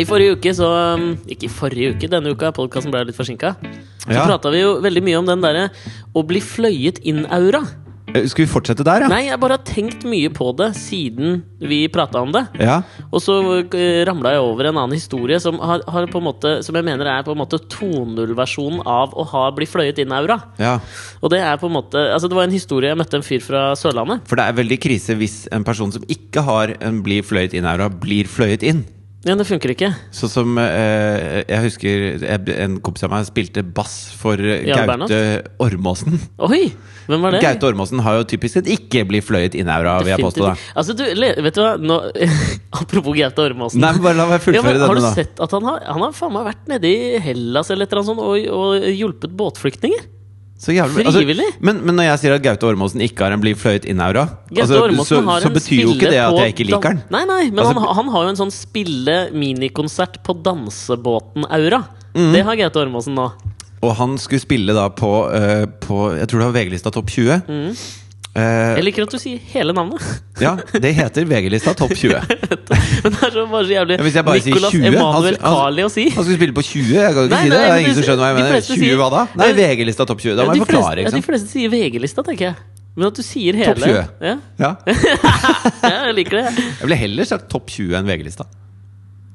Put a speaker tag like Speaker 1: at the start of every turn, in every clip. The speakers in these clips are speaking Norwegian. Speaker 1: I forrige uke, så um, Ikke i forrige uke, denne uka, podkasten ble litt forsinka. Så
Speaker 2: Ja.
Speaker 1: prata vi jo veldig mye om den derre å bli fløyet inn-aura.
Speaker 2: Eh, Skal vi fortsette der, ja?
Speaker 1: Nei, jeg bare har tenkt mye på det siden vi prata om det.
Speaker 2: Ja,
Speaker 1: Og så eh, ramla jeg over en annen historie som, har, har på en måte, som jeg mener er på en måte 2.0-versjonen av å ha bli fløyet inn-aura.
Speaker 2: ja.
Speaker 1: Og det er på en måte Altså, det var en historie jeg møtte en fyr fra Sørlandet.
Speaker 2: For det er veldig krise hvis en person som ikke har en bli fløyet inn-aura, blir fløyet inn.
Speaker 1: Ja, det funker ikke.
Speaker 2: Sånn som eh, jeg husker jeg, en kompis av meg spilte bass for eh,
Speaker 1: Jarl
Speaker 2: Gaute Ormåsen.
Speaker 1: Oi! Hvem var det?
Speaker 2: Gaute Ormåsen har jo typisk sett ikke bli fløyet inn-aura, vil jeg påstå.
Speaker 1: Definitivt.
Speaker 2: da
Speaker 1: Altså, du, le- vet du hva nå, Apropos Gaute Ormåsen.
Speaker 2: Nei, men bare la
Speaker 1: Ja,
Speaker 2: meg fullføre
Speaker 1: men har du
Speaker 2: denne, da.
Speaker 1: sett at han har, han har faen meg vært nede i Hellas eller et eller annet sånt og, og hjulpet båtflyktninger?
Speaker 2: Så jævlig- altså,
Speaker 1: Frivillig?
Speaker 2: men, men når jeg sier at Gaute Ormåsen ikke har en bli fløyet inn-aura,
Speaker 1: Gaute
Speaker 2: altså, så,
Speaker 1: Ormåsen har
Speaker 2: så
Speaker 1: en
Speaker 2: betyr jo ikke
Speaker 1: spille
Speaker 2: det at
Speaker 1: på
Speaker 2: jeg ikke
Speaker 1: dan-
Speaker 2: liker den.
Speaker 1: Nei, nei, men
Speaker 2: Altså-
Speaker 1: han, han har jo en sånn spille-minikonsert på dansebåten-aura.
Speaker 2: Mhm.
Speaker 1: Det har Gaute Ormåsen nå.
Speaker 2: Og han skulle spille da på, eh, på Jeg tror det var VG-lista Topp 20.
Speaker 1: Mm.
Speaker 2: Eh,
Speaker 1: Jeg liker at du sier hele navnet.
Speaker 2: ja, det heter VG-lista Topp 20. Han
Speaker 1: Men det er så bare så jævlig
Speaker 2: Ja, hvis jeg bare sier altså,
Speaker 1: Nicolas
Speaker 2: 20, han-
Speaker 1: Emanuel
Speaker 2: han-
Speaker 1: Carli å si.
Speaker 2: skulle spille på 20, jeg kan ikke
Speaker 1: Nei,
Speaker 2: si
Speaker 1: nei,
Speaker 2: det. det
Speaker 1: men
Speaker 2: er ingen som
Speaker 1: det-
Speaker 2: skjønner hva jeg
Speaker 1: de
Speaker 2: mener.
Speaker 1: fleste
Speaker 2: 20 hva da? Nei,
Speaker 1: sier-
Speaker 2: VG-lista Topp
Speaker 1: Ja,
Speaker 2: 20. Da må jeg
Speaker 1: de fleste-
Speaker 2: forklare,
Speaker 1: ja,
Speaker 2: ikke
Speaker 1: de
Speaker 2: sant.
Speaker 1: fleste sier VG-lista, tenker jeg. Men at du sier hele.
Speaker 2: Topp 20.
Speaker 1: Ja,
Speaker 2: Ja.
Speaker 1: ja jeg liker det.
Speaker 2: Jeg ville heller sagt Topp 20 enn VG-lista.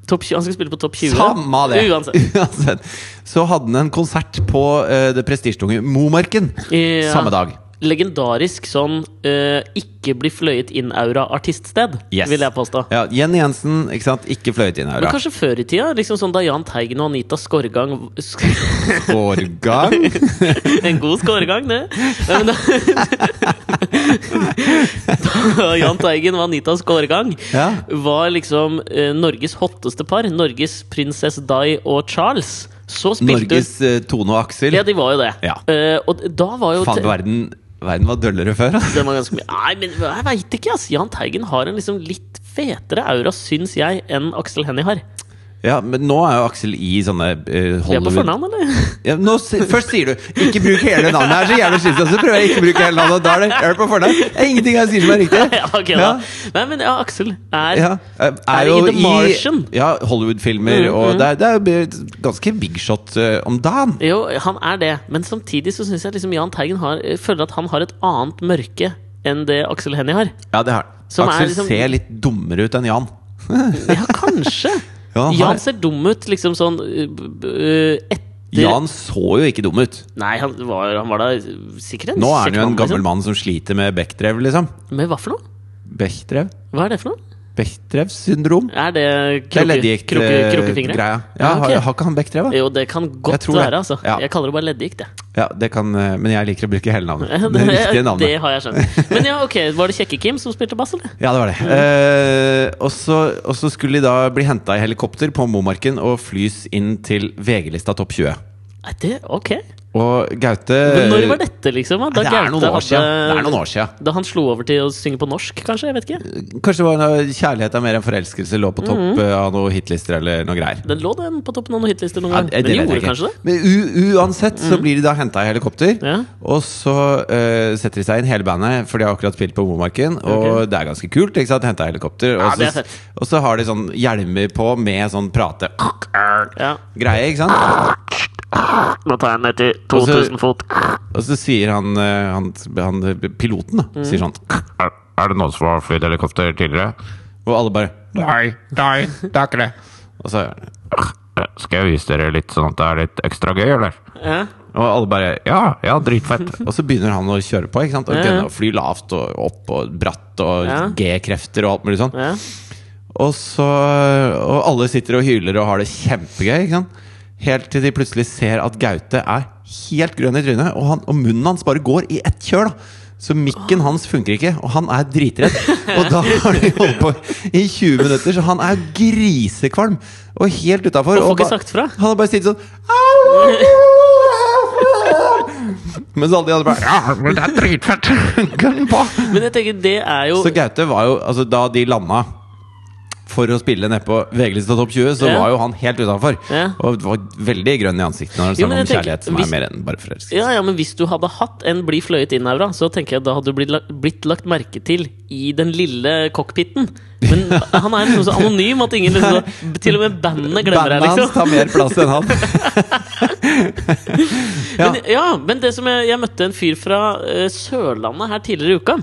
Speaker 1: Topp 20, han skal spille på Topp 20.
Speaker 2: Samma det!
Speaker 1: Uansett.
Speaker 2: Uansett. Så hadde han en konsert på eh, det prestisjetunge Momarken
Speaker 1: Ja.
Speaker 2: samme dag.
Speaker 1: Legendarisk sånn eh, ikke bli fløyet inn-aura-artiststed,
Speaker 2: Yes.
Speaker 1: vil jeg påstå.
Speaker 2: Ja, Jenny Jensen, ikke sant. Ikke fløyet inn her.
Speaker 1: Men kanskje før i tida? Liksom sånn da Jahn Teigen og Anita Skorgang sk
Speaker 2: Årgang.
Speaker 1: En god skåregang, det. Nei, men da- da Jahn Teigen og Anita Skåregang
Speaker 2: Ja.
Speaker 1: var liksom eh, Norges hotteste par. Norges prinsesse Di og Charles. Så spilte
Speaker 2: Norges eh, Tone og Aksel.
Speaker 1: Ja, de var jo det.
Speaker 2: Ja.
Speaker 1: Eh, og da var jo
Speaker 2: Faen, verden, verden var døllere før. ass.
Speaker 1: Den var ganske mye Nei, men jeg veit ikke, ass. Jahn Teigen har en liksom litt fetere aura, syns jeg, enn Aksel Hennie har.
Speaker 2: Ja, men nå er jo Aksel i sånne eh,
Speaker 1: Vi er på
Speaker 2: Hollywood
Speaker 1: fornavn, eller?
Speaker 2: ja, nå, si- Først sier du 'ikke bruk hele navnet', her, så jævlig slitsomt. Så prøver jeg ikke å bruke hele navnet, og da er det er det på fornavn. Det er ingenting jeg sier som er riktig.
Speaker 1: ja, ok, da.
Speaker 2: Ja.
Speaker 1: Nei, men ja, Aksel er
Speaker 2: Ja, eh,
Speaker 1: Er det i The Martian?
Speaker 2: Ja, Hollywood-filmer,
Speaker 1: Mm,
Speaker 2: og det er, det er jo blitt ganske big shot eh, om dagen.
Speaker 1: Jo, han er det, men samtidig så syns jeg liksom Jahn Teigen har, jeg føler at han har et annet mørke enn det Aksel Hennie har.
Speaker 2: Ja, det har
Speaker 1: Som er
Speaker 2: Aksel
Speaker 1: liksom-
Speaker 2: ser litt dummere ut enn Jan.
Speaker 1: Ja, kanskje!
Speaker 2: Ja, han har-
Speaker 1: Jan ser dum ut, liksom sånn øh, b- b- øh, etter
Speaker 2: Jan så jo ikke dum ut.
Speaker 1: Nei, han var, han var da sikkert en
Speaker 2: Nå er han jo
Speaker 1: kjekk
Speaker 2: en
Speaker 1: mann,
Speaker 2: gammel mann som sliter med Bechdrev, liksom.
Speaker 1: Liksom. Men hva for noe?
Speaker 2: Bechdrev?
Speaker 1: Hva er det for noe?
Speaker 2: Bechdrevs syndrom?
Speaker 1: Er det
Speaker 2: Det er
Speaker 1: kroke-
Speaker 2: leddgikt,
Speaker 1: kroke-
Speaker 2: eh,
Speaker 1: krokefingre?
Speaker 2: greia. Ja,
Speaker 1: ok.
Speaker 2: har, har ikke han Bechdrev, da?
Speaker 1: Jo, det kan
Speaker 2: Jeg
Speaker 1: godt
Speaker 2: tror det.
Speaker 1: være, altså.
Speaker 2: Ja.
Speaker 1: Jeg kaller det bare leddgikt, jeg.
Speaker 2: Ja, det kan, eh, men jeg liker å bruke hele navnet. Det
Speaker 1: Det,
Speaker 2: riktige navnet.
Speaker 1: har jeg skjønt. Men ja, ok, var det Kjekke-Kim som spilte bass, eller?
Speaker 2: Ja, det var det. Eh, og så og så skulle de da bli henta i helikopter på Momarken og flys inn til VG-lista Topp 20.
Speaker 1: Nei, det, ok.
Speaker 2: Og Gaute
Speaker 1: Men når var dette, liksom? Da
Speaker 2: Eh, Det er noen
Speaker 1: Gaute
Speaker 2: år siden. Det
Speaker 1: hadde-
Speaker 2: er noen år Eh, siden.
Speaker 1: Da han slo over til å synge på norsk, kanskje? Jeg vet ikke.
Speaker 2: Kanskje det var når kjærlighet er mer enn forelskelse lå på topp
Speaker 1: Mhm.
Speaker 2: eh, av noen hitlister eller noe greier.
Speaker 1: Den lå den på toppen av noen hitlister noen
Speaker 2: Ja,
Speaker 1: gang.
Speaker 2: det
Speaker 1: Den
Speaker 2: vet jeg
Speaker 1: gjorde
Speaker 2: ikke.
Speaker 1: kanskje det? Mm.
Speaker 2: Men u uansett så blir de da henta i helikopter.
Speaker 1: Ja.
Speaker 2: Og så eh, setter de seg inn hele bandet, for de har akkurat spilt på Momarken. Og
Speaker 1: Ok.
Speaker 2: det er ganske kult. ikke sant? Henta i helikopter. Og,
Speaker 1: Ja, det er
Speaker 2: så,
Speaker 1: fett.
Speaker 2: og så har de sånn hjelmer på med sånn prate
Speaker 1: Ja.
Speaker 2: Greie, ikke sant?
Speaker 1: Nå tar jeg den ned til
Speaker 2: så-
Speaker 1: 2000 fot.
Speaker 2: Og så sier han, eh, han, han piloten da, sier
Speaker 1: Mm.
Speaker 2: sånn
Speaker 3: Er, er det noen som har flydd helikopter tidligere?
Speaker 2: Og alle bare
Speaker 3: Nei, nei, det er ikke det.
Speaker 2: Og, så,
Speaker 3: Skal jeg vise dere litt sånn at det er litt ekstra gøy, eller?
Speaker 1: Ja.
Speaker 2: og alle bare
Speaker 3: Ja, ja, dritfett.
Speaker 2: Og så begynner han å kjøre på. ikke sant? Og
Speaker 1: Ja, ja.
Speaker 2: gønne og fly lavt og opp og bratt og
Speaker 1: Ja.
Speaker 2: G-krefter og alt mulig sånn.
Speaker 1: Ja.
Speaker 2: Og, så, og alle sitter og hyler og har det kjempegøy. Ikke sant? Helt til de plutselig ser at Gaute er helt grønn i trynet, og, han, og munnen hans bare går i ett kjøl. da så mikken hans funker ikke, og han er dritredd. Og da har de holdt på i 20 minutter, så han er grisekvalm. Og helt utafor.
Speaker 1: Og får ikke sagt fra.
Speaker 2: Han har bare sittet sånn «Au!» Mens alle de andre bare
Speaker 3: Ja, men det er dritfett.
Speaker 2: «Ja, Gønn på!
Speaker 1: Men jeg tenker, det er jo
Speaker 2: Så Gaute var jo Altså, da de landa for å spille nedpå VG-lista topp 20, så
Speaker 1: Ja.
Speaker 2: var jo han helt utafor.
Speaker 1: Ja.
Speaker 2: Og var veldig grønn i ansiktet når han
Speaker 1: Jo,
Speaker 2: sang
Speaker 1: men
Speaker 2: om
Speaker 1: jeg tenker,
Speaker 2: kjærlighet som
Speaker 1: hvis-
Speaker 2: er mer enn bare forelskelse.
Speaker 1: Ja, ja, men hvis du hadde hatt en bli fløyet inn aura, så tenker jeg da hadde du blitt, la- blitt lagt merke til i den lille cockpiten. Men han er liksom så anonym at ingen liksom, Til og med bandet glemmer deg,
Speaker 2: Bandet hans
Speaker 1: liksom.
Speaker 2: tar mer plass enn han. ja.
Speaker 1: Men, ja, men det som jeg, jeg møtte en fyr fra eh, Sørlandet her tidligere i uka.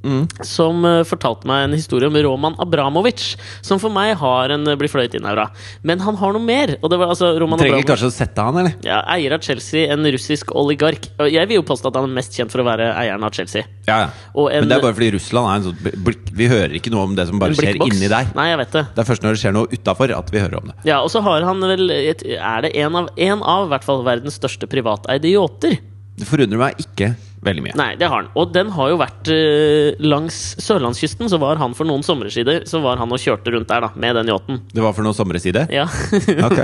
Speaker 2: Mm.
Speaker 1: Som eh, fortalte meg en historie om Roman Abramovic, som for meg har en uh, bli fløyet inn-aura. Men han har noe mer. Og det var altså Roman
Speaker 2: Trenger
Speaker 1: Abramovic
Speaker 2: kanskje å sette han, eller?
Speaker 1: ja, Eier av Chelsea, en russisk oligark. Og Jeg vil jo påstå at han er mest kjent for å være eieren av Chelsea.
Speaker 2: Ja, ja.
Speaker 1: Og en-
Speaker 2: Men det er bare fordi Russland er en sånn blikk Vi hører ikke noe om det som bare
Speaker 1: En
Speaker 2: skjer
Speaker 1: blikkboks.
Speaker 2: inni deg.
Speaker 1: Nei, jeg vet det.
Speaker 2: Det er først når det skjer noe utafor, at vi hører om det.
Speaker 1: Ja, og så har han vel et- Er det en av, en av i hvert fall verdens største privateide yachter?
Speaker 2: Det forundrer meg ikke veldig mye.
Speaker 1: Nei, det har han. Og den har jo vært eh, langs sørlandskysten. Så var han for noen somre siden Så var han og kjørte rundt der da med den yachten.
Speaker 2: Det var for noen sommerside?
Speaker 1: Ja.
Speaker 2: Ok.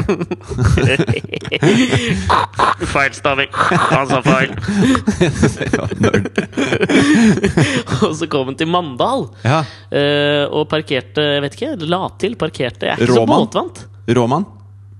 Speaker 1: feil staving! Han sa feil.
Speaker 2: Ja, nerd.
Speaker 1: og så kom han til Mandal
Speaker 2: ja.
Speaker 1: eh, og parkerte Jeg vet ikke, la til. Parkerte. Jeg er ikke
Speaker 2: Råmann?
Speaker 1: så båtvant.
Speaker 2: Råmann?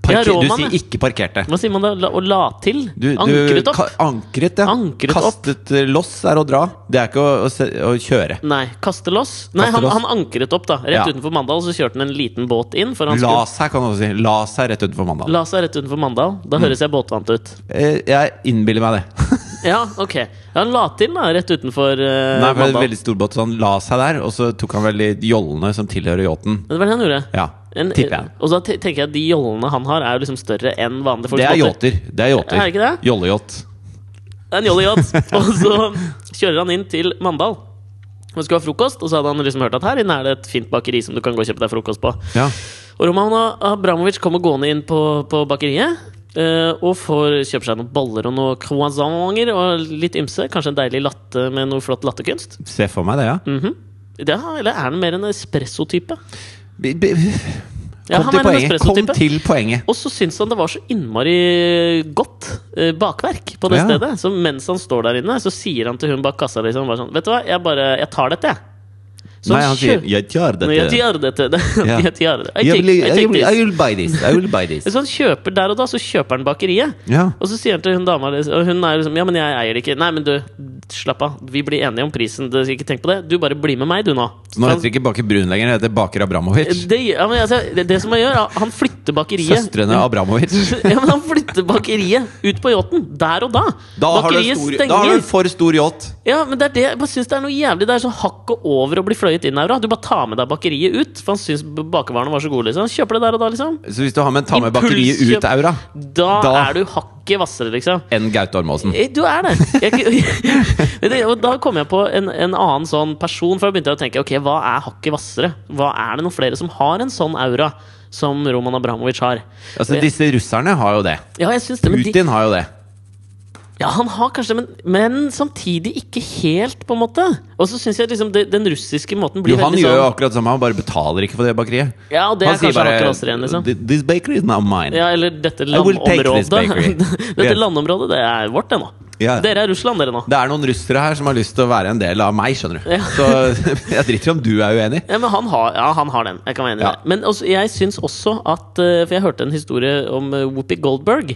Speaker 2: Parker,
Speaker 1: Ja, råmann,
Speaker 2: du
Speaker 1: ja.
Speaker 2: sier ikke parkerte.
Speaker 1: Hva sier man da? La, å la til?
Speaker 2: Du, du,
Speaker 1: Ankret opp?
Speaker 2: ka- Ankret, ja.
Speaker 1: Ankret opp.
Speaker 2: Kastet eh, loss er å dra. Det er ikke å, å, se, å kjøre.
Speaker 1: Nei, kaste loss. Nei, han,
Speaker 2: loss.
Speaker 1: han ankret opp, da. Rett
Speaker 2: Ja.
Speaker 1: utenfor Mandal så kjørte han en liten båt inn. For han
Speaker 2: La
Speaker 1: skulle,
Speaker 2: seg, kan du også si. La seg rett utenfor mandag.
Speaker 1: la seg rett utenfor Mandal.
Speaker 2: Mm.
Speaker 1: Da høres jeg båtvant ut.
Speaker 2: Eh, Jeg innbiller meg det.
Speaker 1: Ja, ok. Ja, han la til, da, rett utenfor eh,
Speaker 2: Nei, for det er en
Speaker 1: Mandal.
Speaker 2: veldig stor båt, så han la seg der, og så tok han vel de jollene som tilhører yachten.
Speaker 1: Det var det han gjorde.
Speaker 2: Ja,
Speaker 1: En-
Speaker 2: tipper jeg.
Speaker 1: Og så te- tenker jeg at de jollene han har, er jo liksom større enn vanlige folks
Speaker 2: Det er
Speaker 1: båter.
Speaker 2: yachter. Det
Speaker 1: Er
Speaker 2: er
Speaker 1: det
Speaker 2: yachter.
Speaker 1: ikke det?
Speaker 2: Jolleyacht.
Speaker 1: Det er en jolleyacht. Og så kjører han inn til Mandal. Han skulle ha frokost, og så hadde han liksom hørt at her inne er det et fint bakeri som du kan gå og kjøpe deg frokost på.
Speaker 2: Ja.
Speaker 1: Og Roman Abramovic kommer gående inn på, på bakeriet eh, og får kjøpe seg noen boller og noen croissanter og litt ymse. Kanskje en deilig latte med noe flott lattekunst.
Speaker 2: Se for meg det, ja.
Speaker 1: Mhm. det, er- eller er han mer en espresso-type?
Speaker 2: Bi- bi-
Speaker 1: Ja,
Speaker 2: Kom
Speaker 1: han
Speaker 2: til
Speaker 1: er en
Speaker 2: poenget. Kom
Speaker 1: espresso-type.
Speaker 2: til poenget.
Speaker 1: Og så syns han det var så innmari godt eh, bakverk på det
Speaker 2: Ja.
Speaker 1: stedet. Så mens han står der inne, så sier han til hun bak kassa liksom bare sånn Vet du hva, jeg bare Jeg tar dette, jeg. Så
Speaker 2: Nei, han sier
Speaker 1: Sånn kjø-
Speaker 2: 'jeg gjør
Speaker 1: Nei, Jeg
Speaker 2: dette'.
Speaker 1: tar dette.
Speaker 2: Ja.
Speaker 1: Jeg tar det. I
Speaker 2: Jeg
Speaker 1: take-
Speaker 2: vil-
Speaker 1: I
Speaker 2: jeg
Speaker 1: take
Speaker 2: vil- I
Speaker 1: this.
Speaker 2: will buy this. I will buy this.
Speaker 1: Så han kjøper der og da, så kjøper han bakeriet.
Speaker 2: Ja.
Speaker 1: Og så sier han til hun dama liksom- Og hun er jo liksom Ja, men jeg eier det ikke. Nei, men du, slapp av. Vi blir enige om prisen. Du, ikke tenk på det. Du bare bli med meg, du nå.
Speaker 2: Så nå heter det ikke Baker Brun lenger, det heter Baker Abramovic.
Speaker 1: det, ja, men, altså, det, det som han gjør, er at han flytter bakeriet
Speaker 2: Søstrene Abramovic.
Speaker 1: ja, men Han flytter bakeriet ut på yachten der og da.
Speaker 2: Da har, du
Speaker 1: bakeriet
Speaker 2: en stor, da har du
Speaker 1: stenger.
Speaker 2: en for stor yacht.
Speaker 1: Ja, men det er det Jeg bare syns det er noe jævlig. Det er sånn hakket over å bli fløyet inn, Aura. Du bare tar med deg bakeriet ut. For han syns bakervarene var så gode, liksom. Kjøper det der og da, liksom.
Speaker 2: Så hvis du har med en ta med bakeriet
Speaker 1: Impulskjøp.
Speaker 2: ut-aura
Speaker 1: Da,
Speaker 2: Da-
Speaker 1: er du hakket hvassere, liksom.
Speaker 2: enn Gaute Ormåsen
Speaker 1: Eh, Du er det. Jeg, Men det- og da kom jeg på en, en annen sånn person, for da begynte jeg å tenke ok, hva er hakket hvassere? Hva er det noen flere som har en sånn aura som Roman Abramovic har?
Speaker 2: Altså Disse russerne har jo det.
Speaker 1: Ja, jeg synes det, men de,
Speaker 2: Putin har jo det.
Speaker 1: ja, han har kanskje det, men, men samtidig ikke helt, på en måte. Og så syns jeg liksom det, den russiske måten
Speaker 2: Jo,
Speaker 1: blir
Speaker 2: han
Speaker 1: veldig
Speaker 2: gjør jo
Speaker 1: sånn
Speaker 2: akkurat som han bare betaler ikke for det bakeriet.
Speaker 1: Ja, og det
Speaker 2: Han
Speaker 1: er
Speaker 2: sier
Speaker 1: kanskje hakket hvassere igjen, liksom.
Speaker 2: bare This bakery is not mine.
Speaker 1: Ja, eller dette
Speaker 2: I will take this bakery.
Speaker 1: landområdet. Dette
Speaker 2: Yeah.
Speaker 1: landområdet, det er vårt, det nå.
Speaker 2: Ja.
Speaker 1: Dere er Russland, dere nå.
Speaker 2: Det er noen russere her som har lyst til å være en del av meg, skjønner du. Så jeg driter i om du er uenig.
Speaker 1: Ja, men han har, ja, han har den. Jeg kan være enig i
Speaker 2: Ja.
Speaker 1: det. Men også, jeg syns også at eh, For jeg hørte en historie om eh, Whoopi Goldberg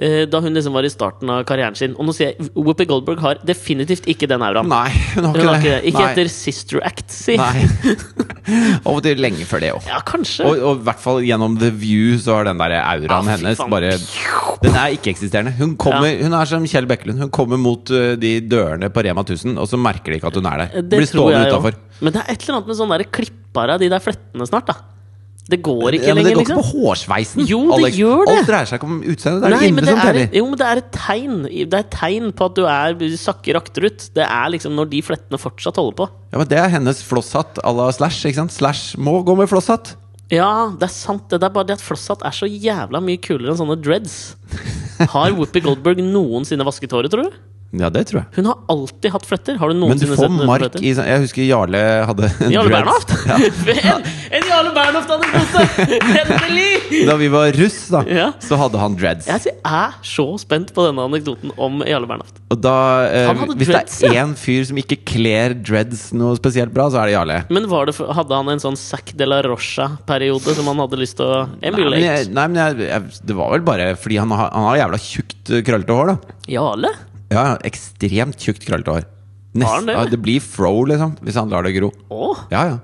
Speaker 1: eh, da hun liksom var i starten av karrieren sin. Og nå sier jeg Whoopi Goldberg har definitivt ikke den auraen.
Speaker 2: Nei, hun har
Speaker 1: Hun
Speaker 2: ikke
Speaker 1: har ikke,
Speaker 2: det.
Speaker 1: det. ikke
Speaker 2: Nei.
Speaker 1: etter Sister Act, si.
Speaker 2: Nei. Av og til lenge før det òg.
Speaker 1: Ja, kanskje.
Speaker 2: Og, og i hvert fall gjennom The View så har den der auraen
Speaker 1: Ja, Ah, fy
Speaker 2: hennes
Speaker 1: faen.
Speaker 2: bare Den er ikke-eksisterende. Hun, kommer- hun er som Kjell Bekkelund. Hun kommer mot ø, de dørene på Rema 1000, og så merker de ikke at hun er der.
Speaker 1: det
Speaker 2: Blir
Speaker 1: tror
Speaker 2: stående
Speaker 1: jeg jo.
Speaker 2: utafor.
Speaker 1: Men det er et eller annet med sånn der klipper av de der flettene snart, da. Det går ikke
Speaker 2: Ja, men det
Speaker 1: lenger,
Speaker 2: går ikke
Speaker 1: liksom.
Speaker 2: på hårsveisen.
Speaker 1: Jo, det gjør det.
Speaker 2: Alt dreier seg ikke om utseendet. Det er
Speaker 1: Nei,
Speaker 2: det
Speaker 1: men det
Speaker 2: indre som
Speaker 1: er,
Speaker 2: teller.
Speaker 1: jo, men det er et tegn Det er et tegn på at du er du sakker akterut. Det er liksom når de flettene fortsatt holder på.
Speaker 2: Ja, men det er hennes flosshatt à la Slash. ikke sant? Slash må gå med flosshatt.
Speaker 1: Ja, det er sant. Det Det er bare det at flosshatt er så jævla mye kulere enn sånne dreads. Har Whoopi Goldberg noensinne vasket håret, tror du?
Speaker 2: Ja, det tror jeg.
Speaker 1: Hun har alltid hatt fletter. Har du
Speaker 2: Men du
Speaker 1: noensinne
Speaker 2: får
Speaker 1: sett henne med
Speaker 2: mark
Speaker 1: fletter?
Speaker 2: i sånn Jeg husker Jarle hadde
Speaker 1: Jarle
Speaker 2: dreads.
Speaker 1: Bernhoft? en, en Jarle Bernhoft-anekdote! Endelig!
Speaker 2: Da vi var russ, da,
Speaker 1: Ja.
Speaker 2: så hadde han dreads.
Speaker 1: Jeg er så spent på denne anekdoten om Jarle Bernhoft.
Speaker 2: Og da eh,
Speaker 1: Han hadde
Speaker 2: Hvis
Speaker 1: dreads,
Speaker 2: det
Speaker 1: ja.
Speaker 2: er én fyr som ikke kler dreads noe spesielt bra, så er det Jarle.
Speaker 1: Men var det, for- hadde han en sånn Sac de la Rocha-periode som han hadde lyst til å
Speaker 2: Nei, men,
Speaker 1: emulate?
Speaker 2: jeg, nei, men jeg, jeg, det var vel bare fordi han har, han har jævla tjukt eh, krøllete hår, da.
Speaker 1: Jarle?
Speaker 2: Ja, ja, ekstremt tjukt krøllete hår.
Speaker 1: Har han
Speaker 2: Nest,
Speaker 1: det?
Speaker 2: ja, det blir fro, liksom, hvis han lar det gro.
Speaker 1: Å?
Speaker 2: Ja, ja.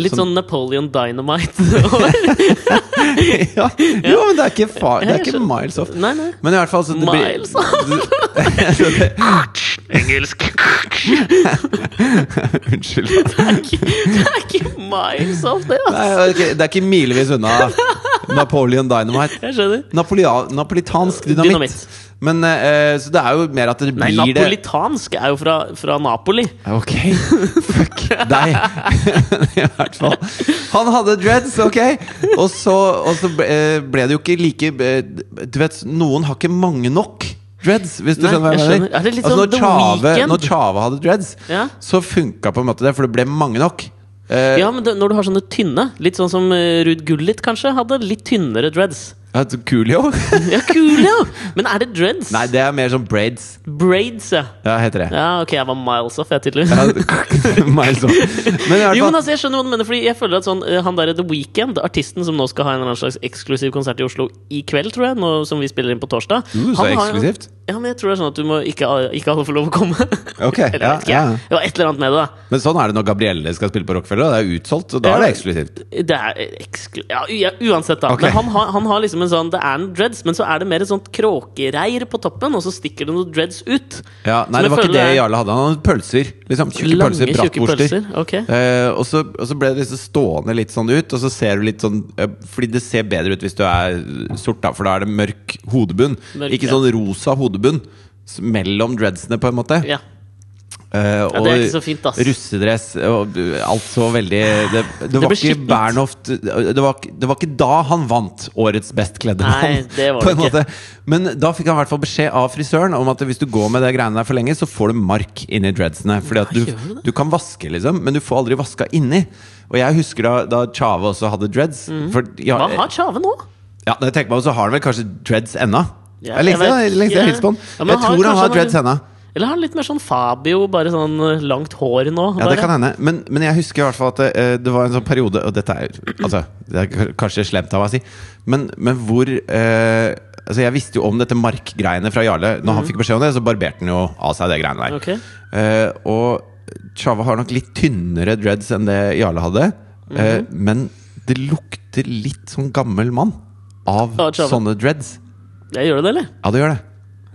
Speaker 1: Litt
Speaker 2: Som-
Speaker 1: sånn Napoleon Dynamite.
Speaker 2: ja. Jo, men det er ikke, fa det er
Speaker 1: jeg
Speaker 2: ikke
Speaker 1: skjønner.
Speaker 2: miles off.
Speaker 1: nei, nei.
Speaker 2: Men i hvert fall så det blir-
Speaker 1: Miles off?
Speaker 2: det-
Speaker 1: Engelsk.
Speaker 2: Unnskyld.
Speaker 1: Det er ikke, det er ikke miles off, det,
Speaker 2: Nei,
Speaker 1: altså.
Speaker 2: ok, det er ikke milevis unna Napoleon Dynamite.
Speaker 1: Jeg skjønner.
Speaker 2: Napolia napolitansk dynamitt.
Speaker 1: Dynamitt.
Speaker 2: Men eh, så det er jo mer at det
Speaker 1: Nei,
Speaker 2: blir det
Speaker 1: napolitansk er jo fra, fra Napoli.
Speaker 2: Ok, fuck deg. I hvert fall. Han hadde dreads, ok? Og så, og så ble, eh, ble det jo ikke like eh, Du vet, noen har ikke mange nok dreads, hvis du
Speaker 1: Nei,
Speaker 2: skjønner hva jeg
Speaker 1: jeg
Speaker 2: mener. Altså,
Speaker 1: skjønner. Er det litt sånn
Speaker 2: når,
Speaker 1: The
Speaker 2: Tjave,
Speaker 1: Weeknd?
Speaker 2: når Tjave hadde dreads,
Speaker 1: Ja.
Speaker 2: så funka på en måte det, for det ble mange nok. Eh,
Speaker 1: Ja, men det, når du har sånne tynne, litt sånn som eh, Ruud Gullit kanskje, hadde litt tynnere dreads.
Speaker 2: ja, så Coolio?
Speaker 1: Ja, kule, ja! Men er det dreads?
Speaker 2: Nei, det er mer sånn braids.
Speaker 1: Braids, ja.
Speaker 2: Ja, heter det.
Speaker 1: Ja, ok, jeg var miles off, jeg, tydeligvis.
Speaker 2: Ja, meg sånn. Men i hvert
Speaker 1: Jo, men
Speaker 2: fall
Speaker 1: altså, jeg skjønner hva du mener, fordi jeg føler at sånn, eh, han der The Weekend, artisten som nå skal ha en eller annen slags eksklusiv konsert i Oslo i kveld, tror jeg, nå som vi spiller inn på torsdag
Speaker 2: Uh, så
Speaker 1: Han har jo-
Speaker 2: eksklusivt.
Speaker 1: Ja, men jeg tror det er sånn at du må ikke, ikke alle får lov å komme.
Speaker 2: Ok,
Speaker 1: eller jeg vet ikke.
Speaker 2: ja, ja.
Speaker 1: Det var et eller annet med det, da.
Speaker 2: Men sånn er det når Gabrielle skal spille på Rockefeller. og Det er utsolgt, og da er det eksklusivt.
Speaker 1: Det er eksklu... Ja, u- ja, uansett, da.
Speaker 2: Ok.
Speaker 1: Men han har, han har liksom en sånn Det er en dreads, men så er det mer et sånt kråkereir på toppen, og så stikker det noen dreads ut.
Speaker 2: Ja, nei,
Speaker 1: Som jeg
Speaker 2: det var ikke
Speaker 1: føler
Speaker 2: det
Speaker 1: er
Speaker 2: Jarle hadde. Han hadde pølser. Liksom, tjukke
Speaker 1: Lange,
Speaker 2: pølser,
Speaker 1: tjukke
Speaker 2: brattwurster.
Speaker 1: pølser, ok.
Speaker 2: Eh, og, så, og så ble det liksom stående litt sånn ut, og så ser du litt sånn eh, Fordi det ser bedre ut hvis du er sort, da, for da er det mørk hodebunn.
Speaker 1: Mørk,
Speaker 2: ikke
Speaker 1: ja.
Speaker 2: sånn rosa hodebunn. s- Mellom dreadsene, på en måte.
Speaker 1: Ja.
Speaker 2: Eh,
Speaker 1: Ja, det er ikke så fint, ass.
Speaker 2: russedress og uh, alt så veldig Det, det,
Speaker 1: ble
Speaker 2: var ikke
Speaker 1: skittent.
Speaker 2: Bernhoft det var, ikke- det var ikke da han vant Årets best kledde
Speaker 1: Nei,
Speaker 2: mann.
Speaker 1: det var
Speaker 2: på en
Speaker 1: det ikke.
Speaker 2: måte. Men da fikk han i hvert fall beskjed av frisøren om at hvis du går med det greiene der for lenge, så får du mark inni dreadsene. Fordi at
Speaker 1: Ja,
Speaker 2: du,
Speaker 1: gjør det?
Speaker 2: du kan vaske, liksom, men du får aldri vaska inni. Og jeg husker da, da Tjave også hadde dreads. For, ja,
Speaker 1: Mhm.
Speaker 2: eh,
Speaker 1: Hva har Tjave nå?
Speaker 2: ja, når jeg tenker meg om, så har han vel kanskje dreads ennå.
Speaker 1: Ja,
Speaker 2: jeg
Speaker 1: jeg
Speaker 2: likte
Speaker 1: vet
Speaker 2: jeg, jeg
Speaker 1: ikke.
Speaker 2: hilste på han.
Speaker 1: Ja, men han
Speaker 2: jeg
Speaker 1: har
Speaker 2: tror han
Speaker 1: kanskje
Speaker 2: har
Speaker 1: noe-
Speaker 2: dreads ennå.
Speaker 1: Eller har han litt mer sånn Fabio, bare sånn eh, langt hår nå?
Speaker 2: Ja,
Speaker 1: bare?
Speaker 2: det kan hende. Men, men jeg husker i hvert fall at det, eh, det var en sånn periode Og dette er, altså, det er k- kanskje slemt av meg å si, men, men hvor eh, Altså Jeg visste jo om dette markgreiene fra Jarle. Når han fikk beskjed om det, så barberte han jo av seg det greiene der.
Speaker 1: Mhm. Ok.
Speaker 2: Eh, og Chava har nok litt tynnere dreads enn det Jarle hadde. eh,
Speaker 1: Mhm.
Speaker 2: men det lukter litt sånn gammel mann av
Speaker 1: Av Tjave.
Speaker 2: sånne dreads.
Speaker 1: Jeg gjør det, eller?
Speaker 2: Ja, det gjør det.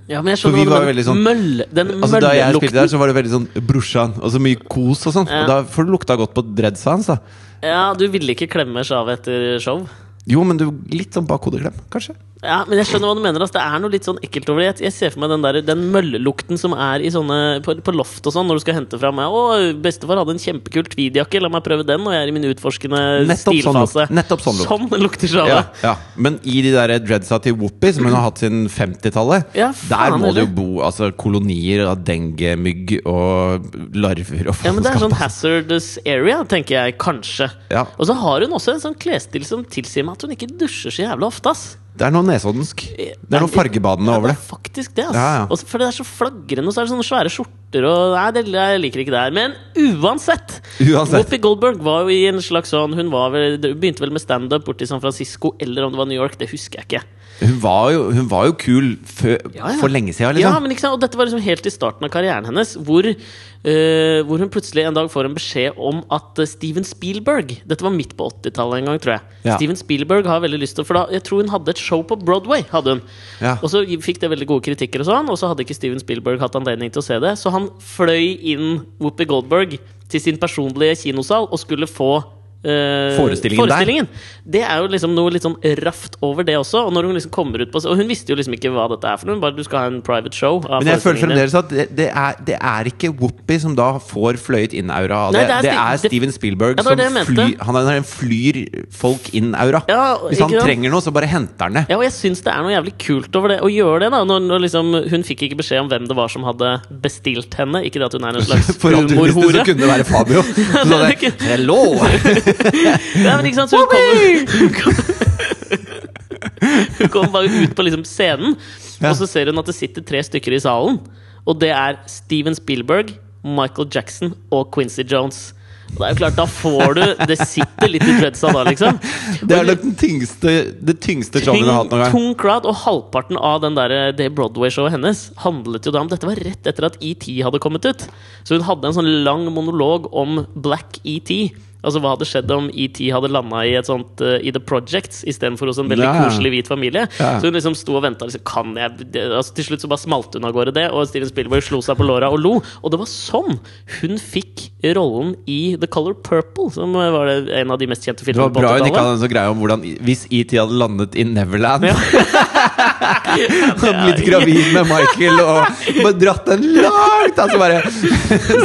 Speaker 1: Ja, men jeg
Speaker 2: For vi
Speaker 1: skjønner hva
Speaker 2: var
Speaker 1: du
Speaker 2: veldig
Speaker 1: mener.
Speaker 2: sånn-
Speaker 1: Mølle, den
Speaker 2: Altså, da jeg spilte der,
Speaker 1: møllelukten.
Speaker 2: så var det veldig sånn brorsan og så mye kos og sånn.
Speaker 1: Ja.
Speaker 2: Og da får du lukta godt på dreadsa hans, da.
Speaker 1: Ja, du ville ikke klemme Tjave etter show?
Speaker 2: Jo, men du, litt sånn bak hodeklem, kanskje?
Speaker 1: Ja, men jeg skjønner hva du mener. ass. Det er noe litt sånn ekkelt over det. Jeg- Jeg ser for meg den, der, den møllelukten som er i sånne, på, på loft og sånn, når du skal hente fram Å, bestefar hadde en kjempekul tweedjakke, la meg prøve den, og jeg er i min utforskende
Speaker 2: Nettopp sånn lukt.
Speaker 1: stilfase.
Speaker 2: Nettopp sånn lukt.
Speaker 1: Sånn lukter Tjave.
Speaker 2: Ja, ja. Men i de der dreadsa til Whoopi, som hun har hatt siden 50-tallet,
Speaker 1: Ja, faen,
Speaker 2: der må
Speaker 1: eller?
Speaker 2: det jo bo altså, kolonier av dengemygg og larver og
Speaker 1: Ja, men Det er
Speaker 2: faenskap,
Speaker 1: sånn
Speaker 2: altså.
Speaker 1: hazardous area, tenker jeg kanskje.
Speaker 2: Ja.
Speaker 1: Og så har hun også en sånn klesstil som tilsier meg at hun ikke dusjer så jævlig ofte. ass
Speaker 2: Det er noe nesoddensk. Det er noe fargebadende
Speaker 1: Ja,
Speaker 2: over det.
Speaker 1: er faktisk det, ass.
Speaker 2: Ja, ja.
Speaker 1: Og så- for det er så flagrende, og så er det sånne svære skjorter og Nei, det, jeg liker ikke det her. Men uansett!
Speaker 2: Uansett.
Speaker 1: Whoopi Goldberg var jo i en slags sånn Hun var vel, det begynte vel med standup borti San Francisco, eller om det var New York, det husker jeg ikke.
Speaker 2: Hun var jo, hun var jo kul fø,
Speaker 1: Ja, ja.
Speaker 2: for lenge siden,
Speaker 1: Ja,
Speaker 2: liksom.
Speaker 1: men ikke sant? Og dette var liksom helt i starten av karrieren hennes, hvor, eh, hvor hun plutselig en dag får en beskjed om at eh, Steven Spielberg Dette var midt på 80-tallet en gang, tror jeg.
Speaker 2: Ja.
Speaker 1: Steven Spielberg har veldig lyst til For da, jeg tror hun hadde et show på Broadway. hadde hun
Speaker 2: Ja.
Speaker 1: Og så fikk det veldig gode kritikker, og sånn Og så hadde ikke Steven Spielberg hatt anledning til å se det. Så han fløy inn Whoopi Goldberg til sin personlige kinosal og skulle få eh, eh,
Speaker 2: Forestillingen der.
Speaker 1: forestillingen. Det er jo liksom noe litt sånn raft over det også. Og når hun liksom kommer ut på Og hun visste jo liksom ikke hva dette er for noe. Hun Bare du skal ha en private show. av
Speaker 2: Men jeg føler
Speaker 1: forestillingen din.
Speaker 2: fremdeles at det, det, er, det er ikke Whoopi som da får fløyet inn-aura. av
Speaker 1: Nei, det er
Speaker 2: Det, det
Speaker 1: Sti-
Speaker 2: er
Speaker 1: det-
Speaker 2: Steven
Speaker 1: Ja,
Speaker 2: Spielberg
Speaker 1: det var
Speaker 2: som
Speaker 1: det jeg mente.
Speaker 2: fly, han er en flyr folk inn-aura.
Speaker 1: Ja,
Speaker 2: Hvis han
Speaker 1: ikke sant?
Speaker 2: trenger noe, så bare henter han det.
Speaker 1: Ja, og jeg syns det er noe jævlig kult over det å gjøre det. da når, når liksom, Hun fikk ikke beskjed om hvem det var som hadde bestilt henne. Ikke det at hun er en slags
Speaker 2: For alt du visste, så
Speaker 1: humorhore.
Speaker 2: kunne det være Fabio. Så sa det, Hello!
Speaker 1: Ja, men ikke sant, så hun kommer Hun kommer bare ut på liksom scenen,
Speaker 2: Ja.
Speaker 1: og så ser hun at det sitter tre stykker i salen. Og det er Steven Spielberg, Michael Jackson og Quincy Jones. Og det er jo klart, da får du Det sitter litt i dreadsa da, liksom.
Speaker 2: Det er nok den tyngste, det tyngste
Speaker 1: Tung,
Speaker 2: showen vi har hatt noen gang.
Speaker 1: tung crowd, og halvparten av den der, eh, det Broadway-showet hennes handlet jo da om Dette var rett etter at ET hadde kommet ut. Så hun hadde en sånn lang monolog om Black ET. Altså hva hadde skjedd om ET hadde landa i et sånt eh, I The Projects istedenfor hos en veldig
Speaker 2: Ja.
Speaker 1: koselig hvit familie.
Speaker 2: Ja.
Speaker 1: Så hun liksom sto og venta. Liksom, kan jeg det, altså, Til slutt så bare smalt hun av gårde det, og Steven Spielberg slo seg på låra og lo. Og det var sånn hun fikk rollen i The Color Purple, som eh, var det en av de mest kjente
Speaker 2: Det
Speaker 1: filmene
Speaker 2: var
Speaker 1: på
Speaker 2: bra hun ikke
Speaker 1: 80-tallet.
Speaker 2: hadde en sånn greie om hvordan Hvis ET hadde landet i Neverland
Speaker 1: Ja.
Speaker 2: og blitt gravid med Michael og bare dratt den langt Og så bare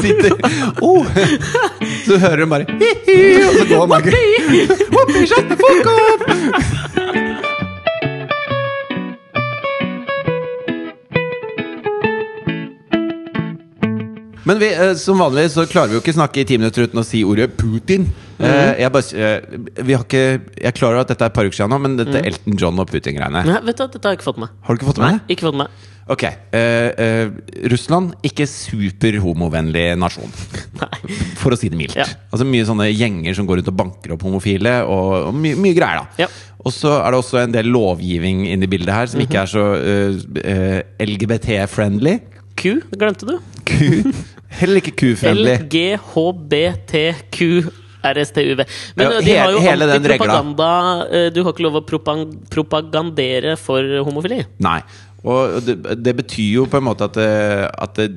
Speaker 2: sitter oh. Så hører hun bare hi-hi, Og så går Michael Whoopi, shut the fuck up Men vi, eh, som vanlig så klarer vi jo ikke snakke i ti minutter uten å si ordet Putin. Eh, jeg, bare, s- eh, vi har ikke, jeg er klar over at dette er et par uker siden nå, men dette Elton John og Putin-greiene
Speaker 1: Nei, vet du, hva, dette har jeg ikke fått med.
Speaker 2: Mhm. Har du ikke fått med det?
Speaker 1: Ikke fått med.
Speaker 2: Ok. eh, eh, Russland, ikke superhomovennlig nasjon,
Speaker 1: Nei.
Speaker 2: for å si det mildt.
Speaker 1: Ja.
Speaker 2: Altså Mye sånne gjenger som går rundt og banker opp homofile, og, og mye- mye greier. da
Speaker 1: Ja. Mhm.
Speaker 2: Og så er det også en del lovgivning inni bildet her som ikke er så eh, LGBT-friendly.
Speaker 1: Q, det glemte du.
Speaker 2: Ku. Heller ikke ku-friendly.
Speaker 1: LGHBTQRSTUV. Men
Speaker 2: Ja,
Speaker 1: ø, de
Speaker 2: he-
Speaker 1: har jo
Speaker 2: hele den regla.
Speaker 1: antipropaganda ø, Du har ikke lov å propan- propagandere for homofili.
Speaker 2: Nei. Og det, det betyr jo på en måte at, det, at det,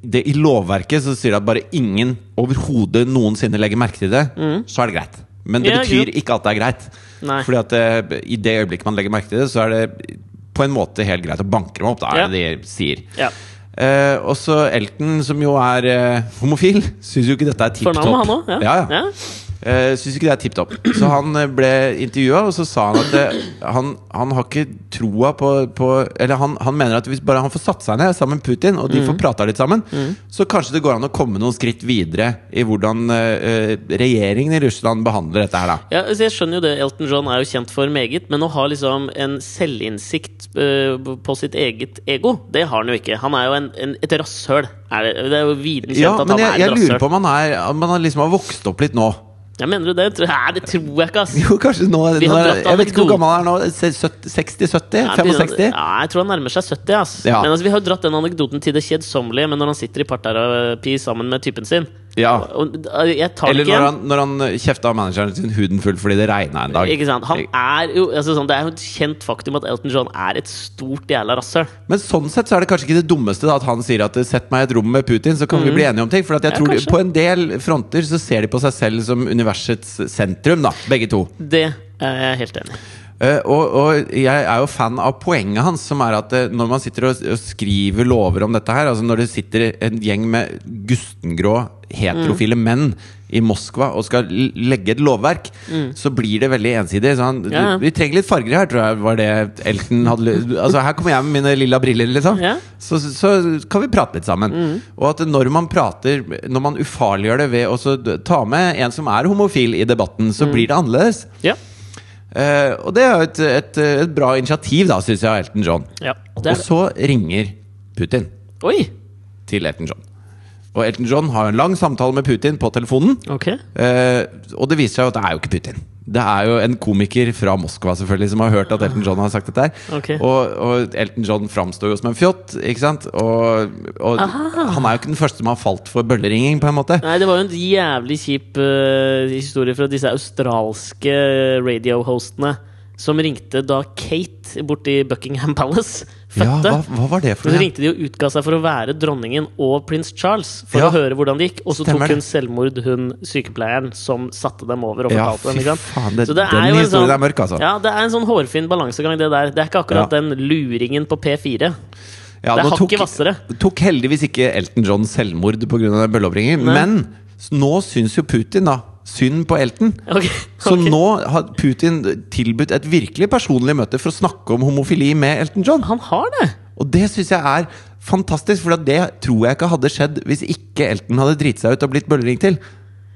Speaker 2: det I lovverket så sier det at bare ingen overhodet noensinne legger merke til det, så er det greit. Men det
Speaker 1: Mm. Ja,
Speaker 2: betyr
Speaker 1: greit.
Speaker 2: ikke at det er greit.
Speaker 1: Nei.
Speaker 2: Fordi at det, i det øyeblikket man legger merke til det, så er det på en måte helt greit å banke dem opp. Da er
Speaker 1: Ja.
Speaker 2: det de sier.
Speaker 1: Ja.
Speaker 2: Eh, også Elton, som jo er eh, homofil, syns jo ikke dette er tipp topp.
Speaker 1: Fornavnet, han òg?
Speaker 2: Ja, ja. Uh, Syns ikke det er tipp topp. Så han eh, ble intervjua, og så sa han at eh, han, han har ikke troa på, på Eller han, han mener at hvis bare han får satt seg ned sammen med Putin, og de
Speaker 1: Mm.
Speaker 2: får prata litt sammen, så kanskje det går an å komme noen skritt videre i hvordan eh, eh, regjeringen i Russland behandler dette her, da.
Speaker 1: Ja, altså jeg skjønner jo det, Elton John er jo kjent for meget, men å ha liksom en selvinnsikt ø, på sitt eget ego, det har han jo ikke. Han er jo en, en, et rasshøl. Er det, det er jo videre kjent
Speaker 2: Ja,
Speaker 1: at
Speaker 2: men
Speaker 1: han
Speaker 2: jeg,
Speaker 1: er
Speaker 2: jeg
Speaker 1: et
Speaker 2: lurer på
Speaker 1: rasshøl.
Speaker 2: om han, er, om han liksom har vokst opp litt nå.
Speaker 1: Ja, mener du det? Tror- Nei, det tror jeg ikke, ass.
Speaker 2: Jo, kanskje nå,
Speaker 1: Vi
Speaker 2: nå
Speaker 1: har dratt
Speaker 2: Jeg vet ikke hvor
Speaker 1: anekdote.
Speaker 2: gammel han er nå. 60-70?
Speaker 1: Ja, begynner-
Speaker 2: 65?
Speaker 1: Ja, jeg tror han nærmer seg 70. Ass.
Speaker 2: Ja.
Speaker 1: Men altså, Vi har jo dratt den anekdoten til det kjedsommelige, men når han sitter i parterapi sammen med typen sin
Speaker 2: Ja.
Speaker 1: og, og, Jeg tar det
Speaker 2: Eller
Speaker 1: ikke
Speaker 2: når
Speaker 1: igjen.
Speaker 2: han, når han kjefta av manageren sin huden full fordi det regna en dag.
Speaker 1: Ikke sant? Han er jo, altså, sånn, det er jo et kjent faktum at Elton John er et stort jævla rasshøl.
Speaker 2: Men sånn sett så er det kanskje ikke det dummeste da, at han sier at 'sett meg i et rom med Putin', så kan vi bli enige om ting. For at
Speaker 1: Mm.
Speaker 2: jeg
Speaker 1: Ja,
Speaker 2: tror de,
Speaker 1: kanskje.
Speaker 2: på en del fronter så ser de på seg selv som universets sentrum, da, begge to.
Speaker 1: Det er jeg helt enig i.
Speaker 2: Eh, og, og jeg er jo fan av poenget hans, som er at eh, når man sitter og, og skriver lover om dette her, altså når det sitter en gjeng med gustengrå heterofile
Speaker 1: Mm.
Speaker 2: menn i Moskva og skal l- legge et lovverk, så blir det veldig ensidig. Så han,
Speaker 1: Mm. Ja, ja.
Speaker 2: Vi trenger litt farger her, tror jeg var det Elton hadde ly- Altså Her kommer jeg med mine lilla briller, liksom.
Speaker 1: Ja. Mm.
Speaker 2: Så, så, så kan vi prate litt sammen. Og at når man prater Når man ufarliggjør det ved å så d- ta med en som er homofil i debatten, så
Speaker 1: Mm.
Speaker 2: blir det annerledes.
Speaker 1: Ja,
Speaker 2: Eh, og det er jo et, et, et bra initiativ, da, syns jeg, av Elton John.
Speaker 1: ja, det
Speaker 2: Og
Speaker 1: er det.
Speaker 2: så ringer Putin
Speaker 1: Oi!
Speaker 2: til Elton John. Og Elton John har en lang samtale med Putin på telefonen.
Speaker 1: Ok.
Speaker 2: eh, og det viser seg jo at det er jo ikke Putin. Det er jo en komiker fra Moskva selvfølgelig som har hørt at Elton John har sagt dette. her
Speaker 1: Ok.
Speaker 2: og, og Elton John framstår jo som en fjott, ikke sant? Og, og han er jo ikke den første som har falt for bølleringing, på en måte.
Speaker 1: Nei, det var jo en jævlig kjip eh, historie fra disse australske radiohostene. Som ringte da Kate borti Buckingham Palace
Speaker 2: Ja,
Speaker 1: fødte.
Speaker 2: hva, hva var det for
Speaker 1: så
Speaker 2: noe?
Speaker 1: ringte de og utga seg for å være dronningen og prins Charles. For
Speaker 2: Ja.
Speaker 1: å høre hvordan det gikk Og så tok
Speaker 2: Stemmer det.
Speaker 1: hun selvmord, hun sykepleieren som satte dem over. og
Speaker 2: Ja,
Speaker 1: fortalte dem,
Speaker 2: fy
Speaker 1: ikke sant?
Speaker 2: faen, det-
Speaker 1: Så
Speaker 2: den
Speaker 1: jo en sånn-
Speaker 2: historien er mørk, altså.
Speaker 1: Ja, det er en sånn hårfin balansegang, det der. Det er ikke akkurat
Speaker 2: Ja.
Speaker 1: den luringen på P4.
Speaker 2: Ja,
Speaker 1: det er
Speaker 2: nå
Speaker 1: hakket hvassere.
Speaker 2: tok heldigvis ikke Elton John selvmord pga. bølleoppringing, men s- nå syns jo Putin da synd på Elton.
Speaker 1: Ok,
Speaker 2: Så
Speaker 1: ok.
Speaker 2: nå har Putin tilbudt et virkelig personlig møte for å snakke om homofili med Elton John.
Speaker 1: Han har det!
Speaker 2: Og det syns jeg er fantastisk, for at det tror jeg ikke hadde skjedd hvis ikke Elton hadde driti seg ut og blitt bøllering til.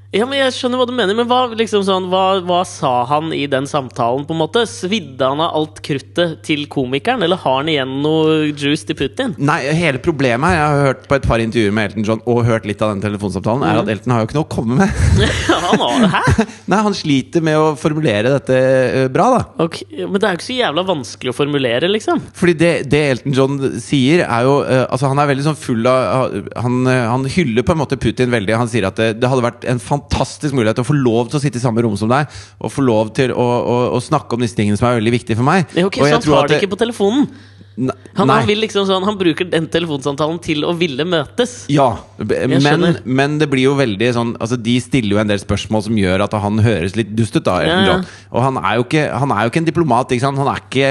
Speaker 1: Ja, men Jeg skjønner hva du mener, men hva, liksom sånn, hva, hva sa han i den samtalen? på en måte? Svidde han av alt kruttet til komikeren, eller har han igjen noe juice til Putin?
Speaker 2: Nei, hele problemet her, jeg har hørt på et par intervjuer med Elton John og hørt litt av den telefonsamtalen, er at Elton har jo ikke noe å komme med.
Speaker 1: han har, hæ?
Speaker 2: Nei, han sliter med å formulere dette eh, bra, da.
Speaker 1: Ok, men det er jo ikke så jævla vanskelig å formulere, liksom.
Speaker 2: Fordi det, det Elton John sier, er jo eh, Altså, han er veldig sånn full av han, eh, han hyller på en måte Putin veldig. Han sier at det, det hadde vært en fantastisk mulighet å få lov til å sitte i samme rom som deg, og få lov til å, å, å snakke om disse tingene som er veldig viktige for meg.
Speaker 1: Det er jo ikke,
Speaker 2: og
Speaker 1: så han tar det
Speaker 2: det-
Speaker 1: ikke på telefonen.
Speaker 2: Ne-
Speaker 1: Han,
Speaker 2: nei.
Speaker 1: han, vil liksom sånn, han bruker den telefonsamtalen til å ville møtes.
Speaker 2: Ja, b- men,
Speaker 1: skjønner.
Speaker 2: men det blir jo veldig sånn Altså De stiller jo en del spørsmål som gjør at han høres litt dust ut. da Elton
Speaker 1: Ja, ja.
Speaker 2: John. Og han er jo ikke, han er jo ikke en diplomat. Ikke sant? Han er ikke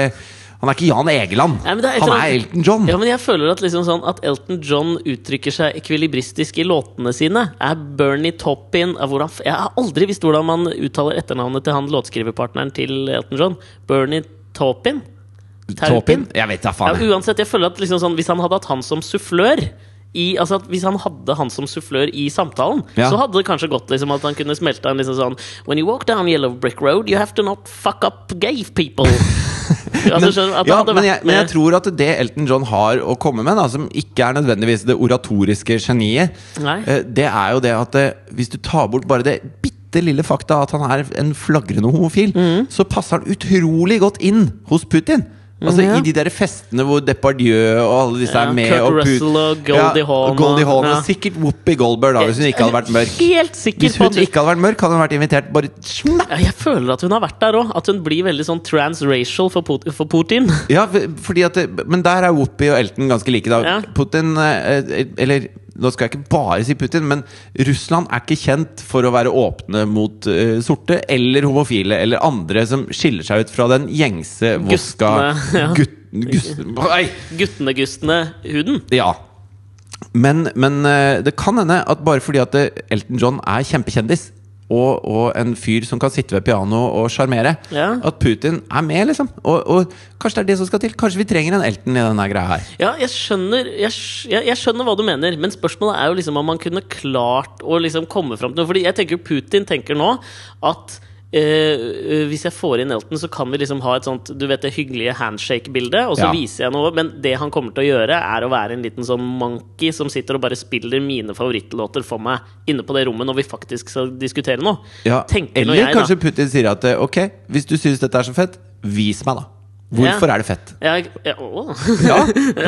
Speaker 2: han er ikke Jan Egeland.
Speaker 1: Nei, men det er et
Speaker 2: han
Speaker 1: eller
Speaker 2: er
Speaker 1: annet-
Speaker 2: Elton John.
Speaker 1: Ja, men jeg føler at, liksom sånn, at Elton John uttrykker seg ekvilibristisk i låtene sine. Er Bernie Toppin er hvordan, f- Jeg har aldri visst hvordan man uttaler etternavnet til han låtskriverpartneren til Elton John. Bernie Taupin?
Speaker 2: Taupin? Jeg vet da
Speaker 1: Ja,
Speaker 2: faen. jeg.
Speaker 1: uansett, jeg føler at liksom sånn, hvis han hadde hatt han som sufflør i, altså at Hvis han hadde han som sufflør i samtalen,
Speaker 2: Ja.
Speaker 1: så hadde det kanskje gått liksom at han kunne smelta en liksom sånn When you walk down Yellow Brick Road, you have to not fuck up gay people. altså, skjønner du? At det
Speaker 2: Ja,
Speaker 1: hadde
Speaker 2: men,
Speaker 1: vært eh,
Speaker 2: jeg, men jeg
Speaker 1: mer-
Speaker 2: tror at det Elton John har å komme med, da, som ikke er nødvendigvis det oratoriske geniet,
Speaker 1: Nei.
Speaker 2: eh, det er jo det at eh, hvis du tar bort bare det bitte lille fakta at han er en flagrende homofil,
Speaker 1: Mm.
Speaker 2: så passer han utrolig godt inn hos Putin. Altså
Speaker 1: Mhm, ja.
Speaker 2: I de der festene hvor Depardieu og alle disse
Speaker 1: Ja,
Speaker 2: er med.
Speaker 1: Kurt
Speaker 2: og Put-
Speaker 1: Russell og Goldie Hawn og-
Speaker 2: Goldie Hawn og
Speaker 1: ja.
Speaker 2: sikkert Whoopi Goldberg, da, hvis hun ikke hadde vært mørk.
Speaker 1: Helt sikker
Speaker 2: Hvis
Speaker 1: på
Speaker 2: hun
Speaker 1: at
Speaker 2: ikke hadde vært mørk, hadde hun vært invitert bare smack
Speaker 1: Ja, Jeg føler at hun har vært der òg. At hun blir veldig sånn transracial for, Put for Putin.
Speaker 2: Ja, for- fordi at det, Men der er Whoopi og Elton ganske like, da.
Speaker 1: Ja.
Speaker 2: Putin eh, Eller nå skal jeg ikke bare si Putin, men Russland er ikke kjent for å være åpne mot eh, sorte eller homofile eller andre som skiller seg ut fra den gjengse voska
Speaker 1: Gustene, ja.
Speaker 2: Gut, gust, nei,
Speaker 1: Guttene-gustene-huden.
Speaker 2: ja. Men, men eh, det kan hende at bare fordi at eh, Elton John er kjempekjendis og, og en fyr som kan sitte ved pianoet og sjarmere,
Speaker 1: Ja.
Speaker 2: at Putin er med, liksom. Og, og kanskje det er det som skal til. Kanskje vi trenger en Elton i denne greia her.
Speaker 1: Ja, jeg skjønner, jeg, skj- jeg, jeg skjønner hva du mener, men spørsmålet er jo liksom om man kunne klart å liksom komme fram til noe. Fordi jeg tenker Putin tenker nå at eh, eh, hvis jeg får inn Elton, så kan vi liksom ha et sånt Du vet det hyggelige handshake-bildet, og så
Speaker 2: Ja.
Speaker 1: viser jeg noe. Men det han kommer til å gjøre, er å være en liten sånn monkey som sitter og bare spiller mine favorittlåter for meg inne på det rommet når vi faktisk skal diskutere noe.
Speaker 2: Ja.
Speaker 1: Tenker nå
Speaker 2: Eller
Speaker 1: jeg, da.
Speaker 2: kanskje Putin sier at eh, ok, hvis du syns dette er så fett, vis meg, da. Hvorfor
Speaker 1: Ja.
Speaker 2: er det fett?
Speaker 1: Jeg, jeg, å.
Speaker 2: Ja,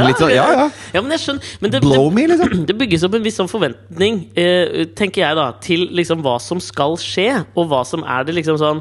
Speaker 2: litt sånn, ja, ja.
Speaker 1: ja, men jeg skjønner men det,
Speaker 2: Blow me, liksom.
Speaker 1: det bygges opp en viss sånn forventning, eh, tenker jeg, da, til liksom hva som skal skje, og hva som er det liksom sånn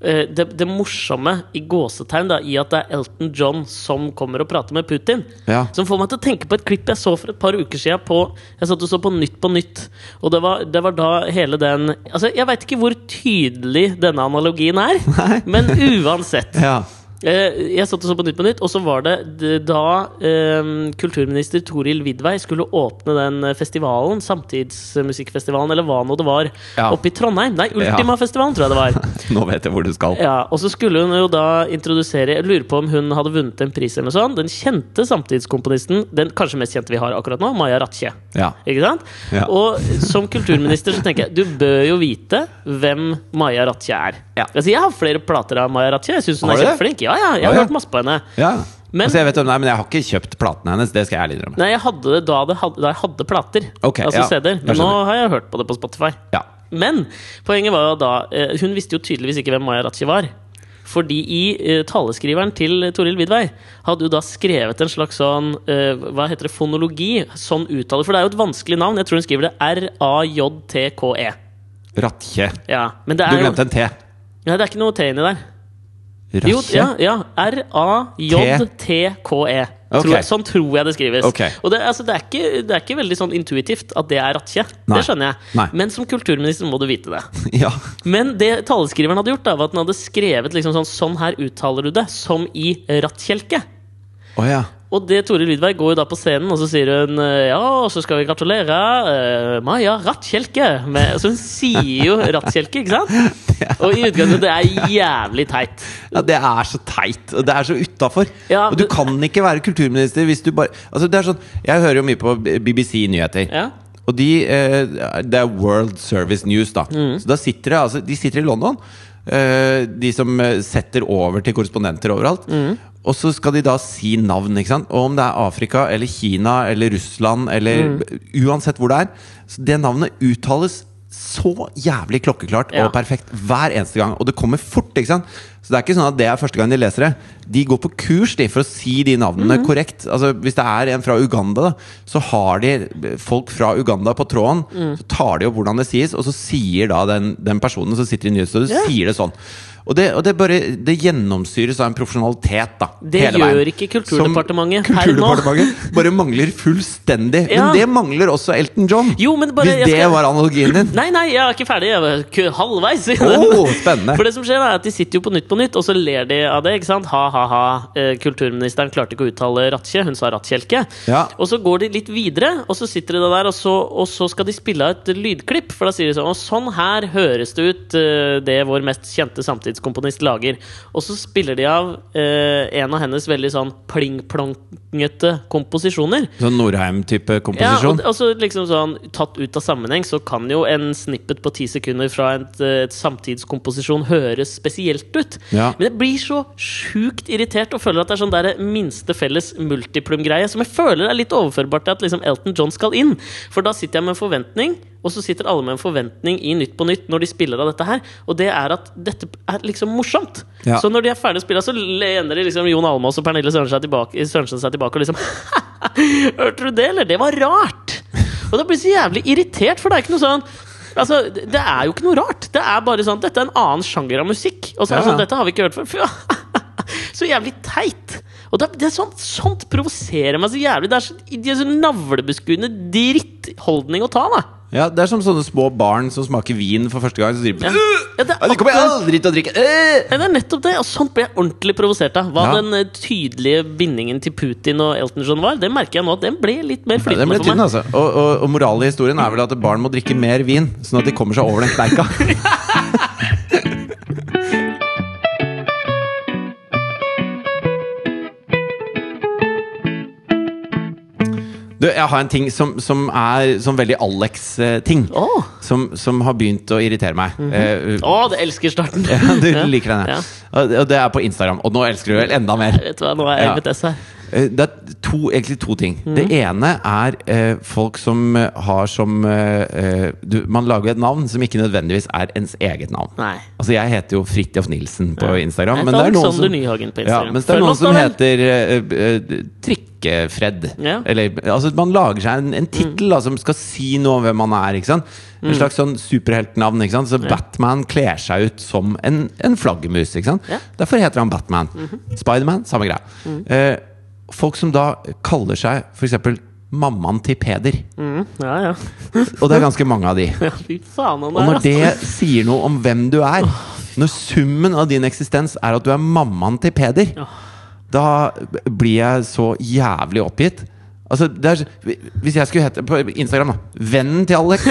Speaker 1: eh, det, det morsomme i gåsetegn da i at det er Elton John som kommer og prater med Putin.
Speaker 2: Ja.
Speaker 1: Som får meg til å tenke på et klipp jeg så for et par uker siden. På, jeg satt og så på Nytt på Nytt. Og det var, det var da hele den altså Jeg veit ikke hvor tydelig denne analogien er, men uansett.
Speaker 2: Ja.
Speaker 1: Eh, Jeg satt og så på Nytt på Nytt, og så var det d- da eh, kulturminister Toril Vidvei skulle åpne den eh, festivalen, samtidsmusikkfestivalen, eller hva nå det var,
Speaker 2: Ja.
Speaker 1: oppe i Trondheim. Nei, Ultimafestivalen, tror jeg det var.
Speaker 2: Nå vet jeg hvor du skal.
Speaker 1: Ja, og så skulle hun jo da introdusere Jeg lurer på om hun hadde vunnet en pris eller noe sånt. Den kjente samtidskomponisten, den kanskje mest kjente vi har akkurat nå, Maja Ratche.
Speaker 2: Ja.
Speaker 1: Ikke sant?
Speaker 2: Ja.
Speaker 1: Og som kulturminister så tenker jeg du bør jo vite hvem Maja Ratche er.
Speaker 2: Ja.
Speaker 1: Altså, jeg har flere plater av Maja Ratche. Jeg syns hun er
Speaker 2: Har du det?
Speaker 1: kjempeflink. Ja, ja, jeg har
Speaker 2: Ja, ja.
Speaker 1: hørt masse på henne.
Speaker 2: ja.
Speaker 1: Men-
Speaker 2: altså, jeg vet om det er, men jeg har ikke kjøpt platene hennes. Det skal jeg ærlig innrømme.
Speaker 1: Nei, jeg hadde det da, det hadde, da jeg hadde plater.
Speaker 2: Ok,
Speaker 1: altså
Speaker 2: ja,
Speaker 1: CD-er.
Speaker 2: jeg
Speaker 1: Men nå
Speaker 2: skjønner.
Speaker 1: har jeg hørt på det på Spotify.
Speaker 2: Ja.
Speaker 1: Men poenget var jo da eh, Hun visste jo tydeligvis ikke hvem Maja Ratchi var. Fordi i eh, taleskriveren til Toril Vidvei hadde jo da skrevet en slags sånn eh, Hva heter det? Fonologi? Sånn uttale. For det er jo et vanskelig navn. Jeg tror hun skriver det R-A-J-T-K-E. E.
Speaker 2: Rattkje.
Speaker 1: Ja, men det
Speaker 2: Du
Speaker 1: er jo
Speaker 2: glemte en T.
Speaker 1: Nei, det er ikke noe T inni der.
Speaker 2: Rasje?
Speaker 1: Jo, ja, ja. R-a-j-t-k-e. Tror
Speaker 2: Ok.
Speaker 1: jeg- Sånn tror jeg det skrives.
Speaker 2: Ok.
Speaker 1: Og det, altså, det, er ikke, det er ikke veldig sånn intuitivt at det er rattkje.
Speaker 2: Nei.
Speaker 1: Det skjønner jeg.
Speaker 2: Nei.
Speaker 1: Men som kulturminister må du vite det.
Speaker 2: Ja.
Speaker 1: Men det taleskriveren hadde gjort, da, var at den hadde skrevet liksom sånn Sånn her uttaler du det. Som i rattkjelke.
Speaker 2: Å ja.
Speaker 1: Og det Tore Lydberg går jo da på scenen, og så sier hun eh, Ja, og så skal vi gratulere eh, Maja Rattkjelke. med- Så hun sier jo Rattkjelke, ikke sant? Og i utgangspunktet det er jævlig teit.
Speaker 2: Ja, det er så teit, og det er så utafor.
Speaker 1: Ja,
Speaker 2: og du
Speaker 1: det-
Speaker 2: kan ikke være kulturminister hvis du bare Altså det er sånn, Jeg hører jo mye på BBC Nyheter.
Speaker 1: Ja.
Speaker 2: Og de, eh, det er World Service News, da.
Speaker 1: Mm.
Speaker 2: Så da sitter det, altså, de sitter i London, eh, de som eh, setter over til korrespondenter overalt.
Speaker 1: Mm.
Speaker 2: Og så skal de da si navn, ikke sant? og om det er Afrika eller Kina eller Russland eller
Speaker 1: Mm.
Speaker 2: Uansett hvor det er. Så det navnet uttales så jævlig klokkeklart
Speaker 1: Ja.
Speaker 2: og perfekt hver eneste gang. Og det kommer fort, ikke sant? Så det er ikke sånn at det er første gang de leser det. De går på kurs de, for å si de navnene
Speaker 1: Mhm.
Speaker 2: korrekt. Altså Hvis det er en fra Uganda, da, så har de folk fra Uganda på tråden.
Speaker 1: Mm.
Speaker 2: Så tar de opp hvordan det sies, og så sier da den, den personen som sitter i nyhetsstudio,
Speaker 1: Ja.
Speaker 2: sier det sånn. Og det, og det bare Det gjennomsyres av en profesjonalitet, da.
Speaker 1: Det
Speaker 2: hele
Speaker 1: gjør
Speaker 2: veien.
Speaker 1: ikke
Speaker 2: Som
Speaker 1: Kulturdepartementet per nå.
Speaker 2: Kulturdepartementet bare mangler fullstendig.
Speaker 1: Ja.
Speaker 2: Men det mangler også Elton John.
Speaker 1: Jo, men bare- jeg
Speaker 2: Hvis det
Speaker 1: skal-
Speaker 2: var analogien din.
Speaker 1: Nei, nei, jeg er ikke ferdig. Jeg var ku- halvveis. i den.
Speaker 2: Åh, spennende.
Speaker 1: For det som skjer er at De sitter jo på Nytt på Nytt, og så ler de av det. ikke sant? Ha, ha, ha. Eh, Kulturministeren klarte ikke å uttale rattkje, hun sa rattkjelke.
Speaker 2: Ja.
Speaker 1: Og så går de litt videre, og så sitter de da der, og så, og så skal de spille av et lydklipp. For da sier de sånn Og sånn her høres det ut, eh, det vår mest kjente samtidskomponist lager. Og så spiller de av eh, en av hennes veldig sånn pling-plongete komposisjoner.
Speaker 2: Sånn Norheim-type
Speaker 1: Ja, og,
Speaker 2: komposisjon?
Speaker 1: og så liksom sånn Tatt ut av sammenheng så kan jo en snippet på ti sekunder fra et, eh, et samtidskomposisjon høres spesielt ut.
Speaker 2: Ja.
Speaker 1: Men jeg blir så sjukt irritert og føler at det er sånn der minste felles multiplum-greie som jeg føler er litt overførbart til at liksom Elton John skal inn. For da sitter jeg med en forventning, og så sitter alle med en forventning i Nytt på Nytt når de spiller av dette her, og det er at dette er liksom morsomt.
Speaker 2: Ja.
Speaker 1: Så når de er ferdig å spille, så lener de liksom Jon Almaas og Pernille Sørensen seg tilbake, Sørensen seg tilbake og liksom Hørte du det, eller? Det var rart! Og da blir jeg så jævlig irritert, for det er ikke noe sånn Altså, det det er jo ikke noe rart. Det er bare sånn Dette er en annen sjanger av musikk. Og så er det
Speaker 2: Ja, ja.
Speaker 1: sånn Dette har vi ikke hørt før. Fy, Så jævlig teit! Og det, det er sånt, sånt provoserer meg så jævlig. Det er så, det er så navlebeskuende drittholdning å ta, da.
Speaker 2: Ja, Det er som sånne små barn som smaker vin for første gang. Så sier de,
Speaker 1: Ja.
Speaker 2: «Øh,
Speaker 1: Ja, det,
Speaker 2: ja,
Speaker 1: er
Speaker 2: det kommer jeg
Speaker 1: akkurat-
Speaker 2: aldri til å drikke! Øh!»
Speaker 1: Ja, det er nettopp det, og sånt ble jeg ordentlig provosert av. Hva
Speaker 2: Ja.
Speaker 1: den eh, tydelige bindingen til Putin og Elton John var, det merker jeg nå at den ble litt mer
Speaker 2: Ja, den
Speaker 1: flytende
Speaker 2: ble
Speaker 1: for
Speaker 2: tynn,
Speaker 1: meg.
Speaker 2: altså. Og, og, og moralen i historien er vel at barn må drikke mer vin, sånn at de kommer seg over den kneika. Du, jeg har en ting som, som er sånn veldig Alex-ting.
Speaker 1: Å,
Speaker 2: Som, som har begynt å irritere meg. Eh,
Speaker 1: Å, det elsker starten!
Speaker 2: Ja, du liker den, ja.
Speaker 1: Ja.
Speaker 2: Og og det er på Instagram. Og nå elsker du vel enda mer.
Speaker 1: Vet du hva, nå er jeg
Speaker 2: Ja.
Speaker 1: LVTS her.
Speaker 2: Eh, Det er to, egentlig to ting. Det
Speaker 1: Mm.
Speaker 2: ene er eh, folk som eh, har som eh, eh, du, Man lager et navn som ikke nødvendigvis er ens eget navn.
Speaker 1: Nei.
Speaker 2: Altså Jeg heter jo Fridtjof Nilsen på Instagram.
Speaker 1: Jeg
Speaker 2: Men
Speaker 1: heter
Speaker 2: det er noen
Speaker 1: Alexander
Speaker 2: som,
Speaker 1: Nyhagen på
Speaker 2: ja,
Speaker 1: Instagram.
Speaker 2: mens det er
Speaker 1: Følg
Speaker 2: noen
Speaker 1: oss
Speaker 2: som
Speaker 1: da vel.
Speaker 2: heter eh, eh, Trikke-Fred.
Speaker 1: Ja. Mm.
Speaker 2: Eller altså Man lager seg en, en tittel da, som skal si noe om hvem man er. Ikke sant? En slags sånn superheltnavn. Ikke sant? Så Batman kler seg ut som en, en flaggermus. Ikke sant?
Speaker 1: Ja. Mhm. Mm.
Speaker 2: Derfor heter han Batman. Spiderman, samme greia. Eh, folk som da kaller seg f.eks. mammaen til Peder.
Speaker 1: Mm, ja, ja.
Speaker 2: Og det er ganske mange av de.
Speaker 1: ja. Fy faen, han
Speaker 2: Og
Speaker 1: er altså.
Speaker 2: når det sier noe om hvem du er, når summen av din eksistens er at du er mammaen til Peder, da blir jeg så jævlig oppgitt. Altså, det er, så- hvis jeg skulle hete på Instagram, da Vennen til Alex.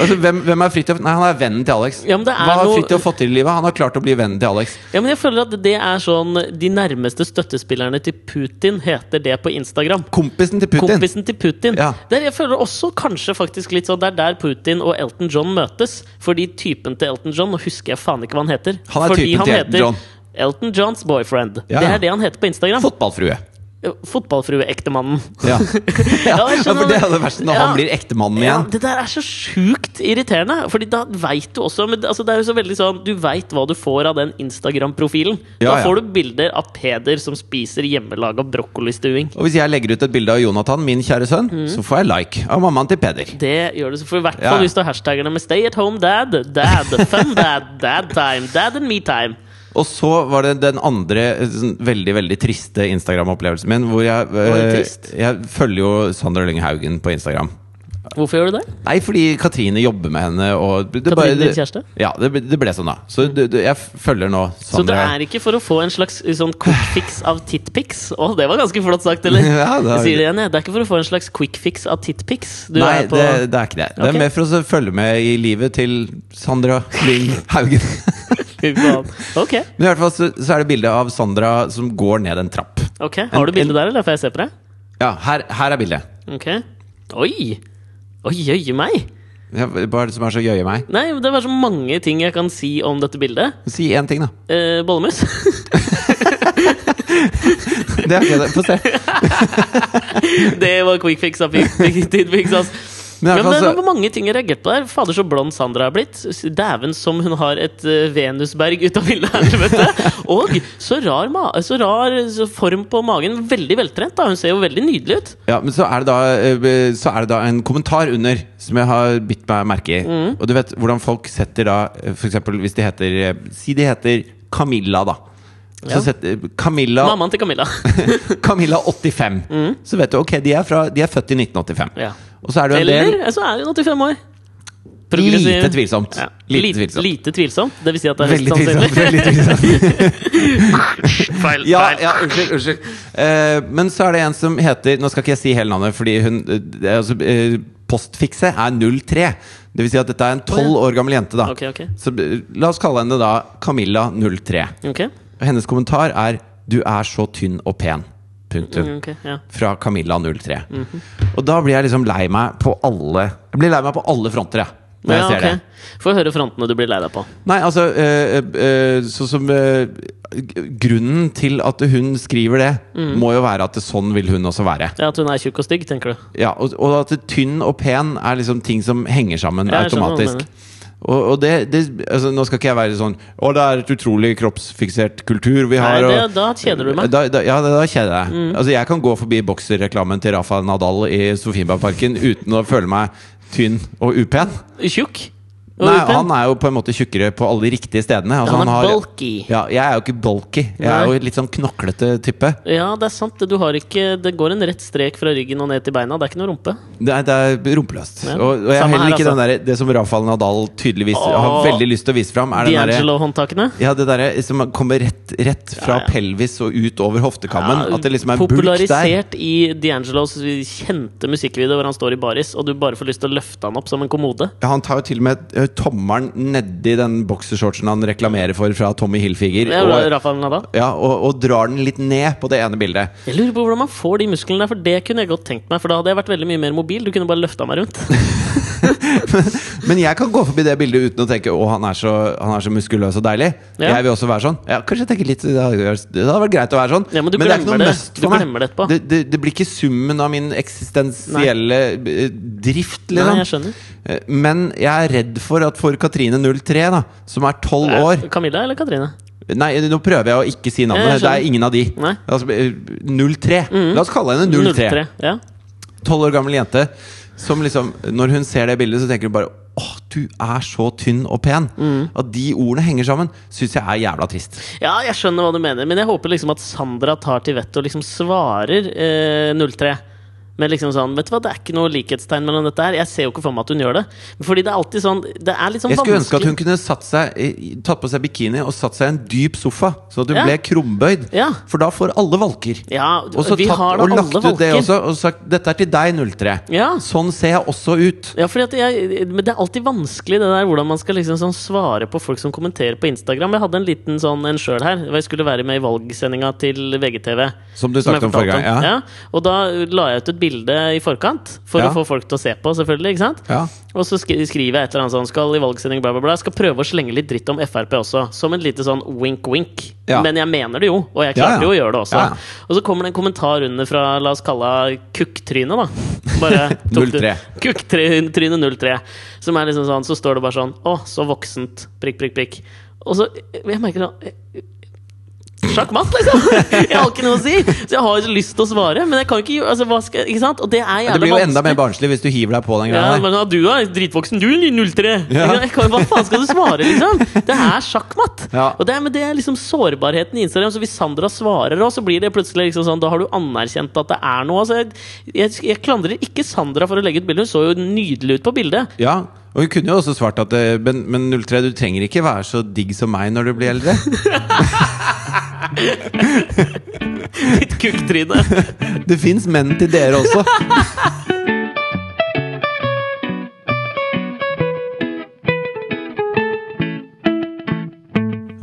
Speaker 2: altså, hvem, hvem er Fridtjof? Nei, han er vennen til Alex.
Speaker 1: Ja, men det er
Speaker 2: Hva har
Speaker 1: noe-
Speaker 2: Fridtjof fått til i livet? Han har klart å bli vennen til Alex.
Speaker 1: Ja, men jeg føler at det er sånn De nærmeste støttespillerne til Putin heter det på Instagram.
Speaker 2: Kompisen til Putin.
Speaker 1: Kompisen til Putin.
Speaker 2: Ja.
Speaker 1: Der jeg føler også kanskje faktisk litt sånn Det er der Putin og Elton John møtes. Fordi typen til Elton John Nå husker jeg faen ikke hva han heter.
Speaker 2: Han er
Speaker 1: fordi
Speaker 2: typen til Elton John.
Speaker 1: Elton Johns boyfriend.
Speaker 2: Ja,
Speaker 1: Det
Speaker 2: ja.
Speaker 1: er det han heter på Instagram.
Speaker 2: Fotballfrue.
Speaker 1: Fotballfrueektemannen.
Speaker 2: Ja. ja,
Speaker 1: Ja, jeg skjønner
Speaker 2: for det
Speaker 1: det.
Speaker 2: er det verste når
Speaker 1: Ja.
Speaker 2: han blir ektemannen
Speaker 1: Ja,
Speaker 2: igjen.
Speaker 1: det der er så sjukt irriterende. Fordi da veit du også men, altså, Det er jo så veldig sånn Du veit hva du får av den Instagram-profilen.
Speaker 2: Ja,
Speaker 1: da
Speaker 2: ja.
Speaker 1: får du bilder av Peder som spiser hjemmelaga brokkolistuing.
Speaker 2: Og hvis jeg legger ut et bilde av Jonathan, min kjære sønn,
Speaker 1: Mm.
Speaker 2: så får jeg like av mammaen til Peder.
Speaker 1: Det gjør det så for i hvert
Speaker 2: Ja.
Speaker 1: fall hvis du har hashtagene med 'stay at home dad', 'dad', 'fun dad', 'dad time', 'dad and me time'.
Speaker 2: Og så var det den andre eh, sånn, veldig veldig triste Instagram-opplevelsen min. Hvor jeg,
Speaker 1: det
Speaker 2: eh,
Speaker 1: trist?
Speaker 2: jeg følger jo Sander Lynghaugen på Instagram.
Speaker 1: Hvorfor gjør du det?
Speaker 2: Nei, fordi Katrine jobber med henne. Og det
Speaker 1: Katrine, din kjæreste?
Speaker 2: Ja, det, ble- det ble sånn, da. Så du, du, jeg følger nå
Speaker 1: Så det
Speaker 2: Sander.
Speaker 1: er ikke for å få en slags eh, sånn quick fix av titpics? Å, det var ganske flott sagt, eller?
Speaker 2: Ja, det er-
Speaker 1: Jeg sier det igjen, jeg. Det er ikke for å få en slags quick fix av titpics? Du
Speaker 2: Nei,
Speaker 1: er på
Speaker 2: det, det er ikke det. Det
Speaker 1: Ok.
Speaker 2: er mer for å følge med i livet til Sandra Lyng Haugen.
Speaker 1: Fy faen. Ok.
Speaker 2: Men i hvert fall så, så er det bilde av Sandra som går ned en trapp.
Speaker 1: ok. Har du
Speaker 2: En- en-
Speaker 1: bildet der, eller får jeg se på det?
Speaker 2: Ja, her, her er bildet.
Speaker 1: Ok. Oi! Oi, jøye meg!
Speaker 2: Ja, hva er det som er så gøye meg?
Speaker 1: Nei, det var så mange ting jeg kan si om dette bildet.
Speaker 2: Si én ting, da.
Speaker 1: Eh, bollemus.
Speaker 2: Det er ikke det. Få se.
Speaker 1: det var quick fix av fi- fi- titpics, ass.
Speaker 2: Men i
Speaker 1: Men
Speaker 2: hvert
Speaker 1: det
Speaker 2: fall
Speaker 1: er
Speaker 2: så,
Speaker 1: mange ting jeg reagerte på der. Fader, så blond Sandra er blitt. Dæven som hun har et eh, venusberg ut av bildet her, vet du. Og så rar, ma så rar så form på magen. Veldig veltrent, da. Hun ser jo veldig nydelig ut.
Speaker 2: ja, men så er, det da, eh, så er det da en kommentar under som jeg har bitt meg merke i.
Speaker 1: Mm.
Speaker 2: Og du vet hvordan folk setter da eh, For eksempel hvis de heter eh, Si de heter Camilla, da.
Speaker 1: Ja.
Speaker 2: Så setter eh, Camilla
Speaker 1: Mammaen til Camilla.
Speaker 2: Camilla 85. Så vet du, ok, de er, fra, de er født i 1985.
Speaker 1: Mm. Ja.
Speaker 2: Og så er det jo en del
Speaker 1: Eller eh, så er hun 85 år. Progressiv.
Speaker 2: Lite tvilsomt.
Speaker 1: Ja.
Speaker 2: Lite
Speaker 1: Lite,
Speaker 2: tvilsomt.
Speaker 1: lite tvilsomt. Det vil si at det er høyst
Speaker 2: Veldig tvilsomt.
Speaker 1: sånn sannsynlig.
Speaker 2: Veldig tvilsomt.
Speaker 1: Feil.
Speaker 2: Ja,
Speaker 1: feil.
Speaker 2: ja, unnskyld. unnskyld Eh, Men så er det en som heter Nå skal ikke jeg si hele navnet, fordi hun eh, det er altså, eh, Postfikse er 03. Det vil si at dette er en 12 år gammel jente, da.
Speaker 1: Ok, ok.
Speaker 2: Så eh, la oss kalle henne da Camilla 03.
Speaker 1: Ok.
Speaker 2: Og hennes kommentar er 'Du er så tynn og pen'. Punktum.
Speaker 1: Mm, ok, ja.
Speaker 2: fra Camilla 03.
Speaker 1: Mhm.
Speaker 2: Og da blir jeg liksom lei meg på alle Jeg blir lei meg på alle fronter, jeg. Når
Speaker 1: ja,
Speaker 2: jeg ser
Speaker 1: ok.
Speaker 2: det.
Speaker 1: Få høre frontene du blir lei deg på.
Speaker 2: Nei, altså øh, øh, Sånn som øh, g- Grunnen til at hun skriver det,
Speaker 1: Mm.
Speaker 2: må jo være at det, sånn vil hun også være.
Speaker 1: Ja, At hun er tjukk og stygg, tenker du.
Speaker 2: Ja, og, og at det, tynn og pen er liksom ting som henger sammen
Speaker 1: Ja, jeg skjønner hva du
Speaker 2: automatisk.
Speaker 1: mener.
Speaker 2: Og, og det, det altså, Nå skal ikke jeg være sånn Å, det er et utrolig kroppsfiksert kultur vi har.
Speaker 1: Nei, det,
Speaker 2: og,
Speaker 1: Da kjeder du meg. Mm.
Speaker 2: Da, da, ja, da, da kjeder jeg. Altså, jeg kan gå forbi bokserreklamen til Rafa Nadal i Sofienbergparken uten å føle meg tynn og upen.
Speaker 1: Tjukk? Og
Speaker 2: Nei,
Speaker 1: upen?
Speaker 2: han er jo på en måte tjukkere på alle de riktige stedene. Altså,
Speaker 1: Han er
Speaker 2: har-
Speaker 1: bulky.
Speaker 2: Ja, jeg er jo ikke bulky. Jeg
Speaker 1: Nei.
Speaker 2: er jo litt sånn knoklete type.
Speaker 1: Ja, det er sant. Du har ikke, det går en rett strek fra ryggen og ned til beina. Det er ikke noe rumpe.
Speaker 2: Det er, det er rumpeløst.
Speaker 1: Ja.
Speaker 2: Og, og jeg er
Speaker 1: Samme
Speaker 2: heller
Speaker 1: her, altså.
Speaker 2: ikke den der, det som Rafael Nadal tydeligvis har
Speaker 1: Åh.
Speaker 2: veldig lyst til å vise fram. Er den derre-
Speaker 1: D'Angelo-håndtakene.
Speaker 2: ja, det derre som kommer rett, rett fra
Speaker 1: Ja, ja.
Speaker 2: pelvis og ut over hoftekammen.
Speaker 1: Ja,
Speaker 2: at det liksom er en bulk der.
Speaker 1: popularisert i D'Angelos kjente musikkvideo hvor han står i baris, og du bare får lyst til å løfte han opp som en kommode.
Speaker 2: Ja, Han tar jo til og med eh, tommelen nedi den boksershortsen han reklamerer for fra Tommy Hilfiger,
Speaker 1: Det er bra,
Speaker 2: og,
Speaker 1: Rafael Nadal.
Speaker 2: ja, og, og drar den litt ned på det ene bildet.
Speaker 1: Jeg lurer på hvordan man får de musklene der, for det kunne jeg godt tenkt meg. For da hadde jeg vært veldig mye mer mobil. Du kunne bare løfta meg rundt.
Speaker 2: Men jeg kan gå forbi det bildet uten å tenke 'Å, han er så, han er så muskuløs og deilig'.
Speaker 1: Ja.
Speaker 2: Jeg vil også være sånn. Ja, kanskje jeg tenker litt Det hadde vært- det hadde vært greit å være sånn,
Speaker 1: Ja, men du
Speaker 2: det er ikke
Speaker 1: glemmer
Speaker 2: noe
Speaker 1: det.
Speaker 2: must
Speaker 1: Du
Speaker 2: for
Speaker 1: glemmer det etterpå.
Speaker 2: meg. Det, det, det blir ikke summen av min eksistensielle eh, drift,
Speaker 1: Nei,
Speaker 2: liksom.
Speaker 1: jeg skjønner.
Speaker 2: Eh, Men jeg er redd for at for Katrine 03, da, som er tolv år
Speaker 1: Camilla eller Katrine?
Speaker 2: Nei, nå prøver jeg å ikke si
Speaker 1: Ja, jeg
Speaker 2: navnet. Det
Speaker 1: skjønner.
Speaker 2: er ingen av de.
Speaker 1: Nei. Mm.
Speaker 2: Altså, eh, 03. La oss kalle henne 03.
Speaker 1: 03, Ja.
Speaker 2: Tolv år gammel jente som liksom Når hun ser det bildet, så tenker hun bare Åh, du er så tynn og pen.
Speaker 1: Mm.
Speaker 2: At de ordene henger sammen, syns jeg er jævla trist.
Speaker 1: Ja, jeg skjønner hva du mener, men jeg håper liksom at Sandra tar til vettet og liksom svarer eh, 03. Men liksom sånn, vet du hva, det er ikke noe likhetstegn mellom dette her. Jeg ser jo ikke for meg at hun gjør det. Fordi det er alltid sånn Det er litt sånn
Speaker 2: Jeg
Speaker 1: vanskelig
Speaker 2: skulle ønske at hun kunne satt seg, eh, tatt på seg bikini og satt seg i en dyp sofa, så at hun
Speaker 1: Ja.
Speaker 2: ble krumbøyd.
Speaker 1: Ja.
Speaker 2: For da får alle valker.
Speaker 1: Ja,
Speaker 2: Og så
Speaker 1: vi
Speaker 2: tatt,
Speaker 1: har da
Speaker 2: og lagt
Speaker 1: alle
Speaker 2: ut det
Speaker 1: valker.
Speaker 2: også og sagt 'Dette er til deg, 03'.
Speaker 1: Ja.
Speaker 2: Sånn ser jeg også ut.
Speaker 1: Ja, fordi at jeg, men det er alltid vanskelig det der hvordan man skal liksom sånn svare på folk som kommenterer på Instagram. Jeg hadde en liten sånn en sjøl her. hvor Jeg skulle være med i valgsendinga til VGTV.
Speaker 2: Som du
Speaker 1: jeg
Speaker 2: snakket om
Speaker 1: fortalte
Speaker 2: forrige gang, ja.
Speaker 1: Og da la jeg ut et bilde i forkant for
Speaker 2: Ja.
Speaker 1: å få folk til å se på, selvfølgelig. ikke sant?
Speaker 2: Ja.
Speaker 1: Og så skri- skriver jeg et eller annet sånn Skal i valgsending, bla, bla, bla. Skal prøve å slenge litt dritt om Frp også. Som en lite sånn wink-wink.
Speaker 2: Ja.
Speaker 1: Men jeg mener det jo, og jeg
Speaker 2: Ja, ja.
Speaker 1: klarte jo å gjøre det også.
Speaker 2: Ja, ja.
Speaker 1: Og så kommer det en kommentar under fra la oss kalle henne Kukktryne, da. Bare tok du-
Speaker 2: 03.
Speaker 1: Kukktryne 03. Som er liksom sånn, så står det bare sånn Å, så voksent. Prikk, prikk, prikk. Og så Jeg merker sånn sjakkmatt, «Eh, liksom! Jeg har ikke noe å si! Så jeg har jo lyst til å svare, men jeg kan ikke gjøre- altså, hva skal, Ikke sant? Og det er
Speaker 2: Det
Speaker 1: jævlig
Speaker 2: blir jo enda
Speaker 1: vanskelig.
Speaker 2: mer barnslig hvis du hiver deg på den
Speaker 1: Ja,
Speaker 2: greia der.
Speaker 1: men du er dritvoksen, du 03!
Speaker 2: Ja.
Speaker 1: Jeg kan, hva faen skal du svare, liksom? Det er sjakkmatt!
Speaker 2: Ja.
Speaker 1: Og det er, men det er liksom sårbarheten i Instagram. Så hvis Sandra svarer òg, så blir det plutselig liksom sånn Da har du anerkjent at det er noe. Altså, jeg, jeg, jeg klandrer ikke Sandra for å legge ut bilde, hun så jo nydelig ut på bildet.
Speaker 2: Ja, og hun kunne jo også svart at eh, Men, men 03, du trenger ikke være så digg som meg når du blir eldre.
Speaker 1: Ditt kukktryne!
Speaker 2: Det fins menn til dere også.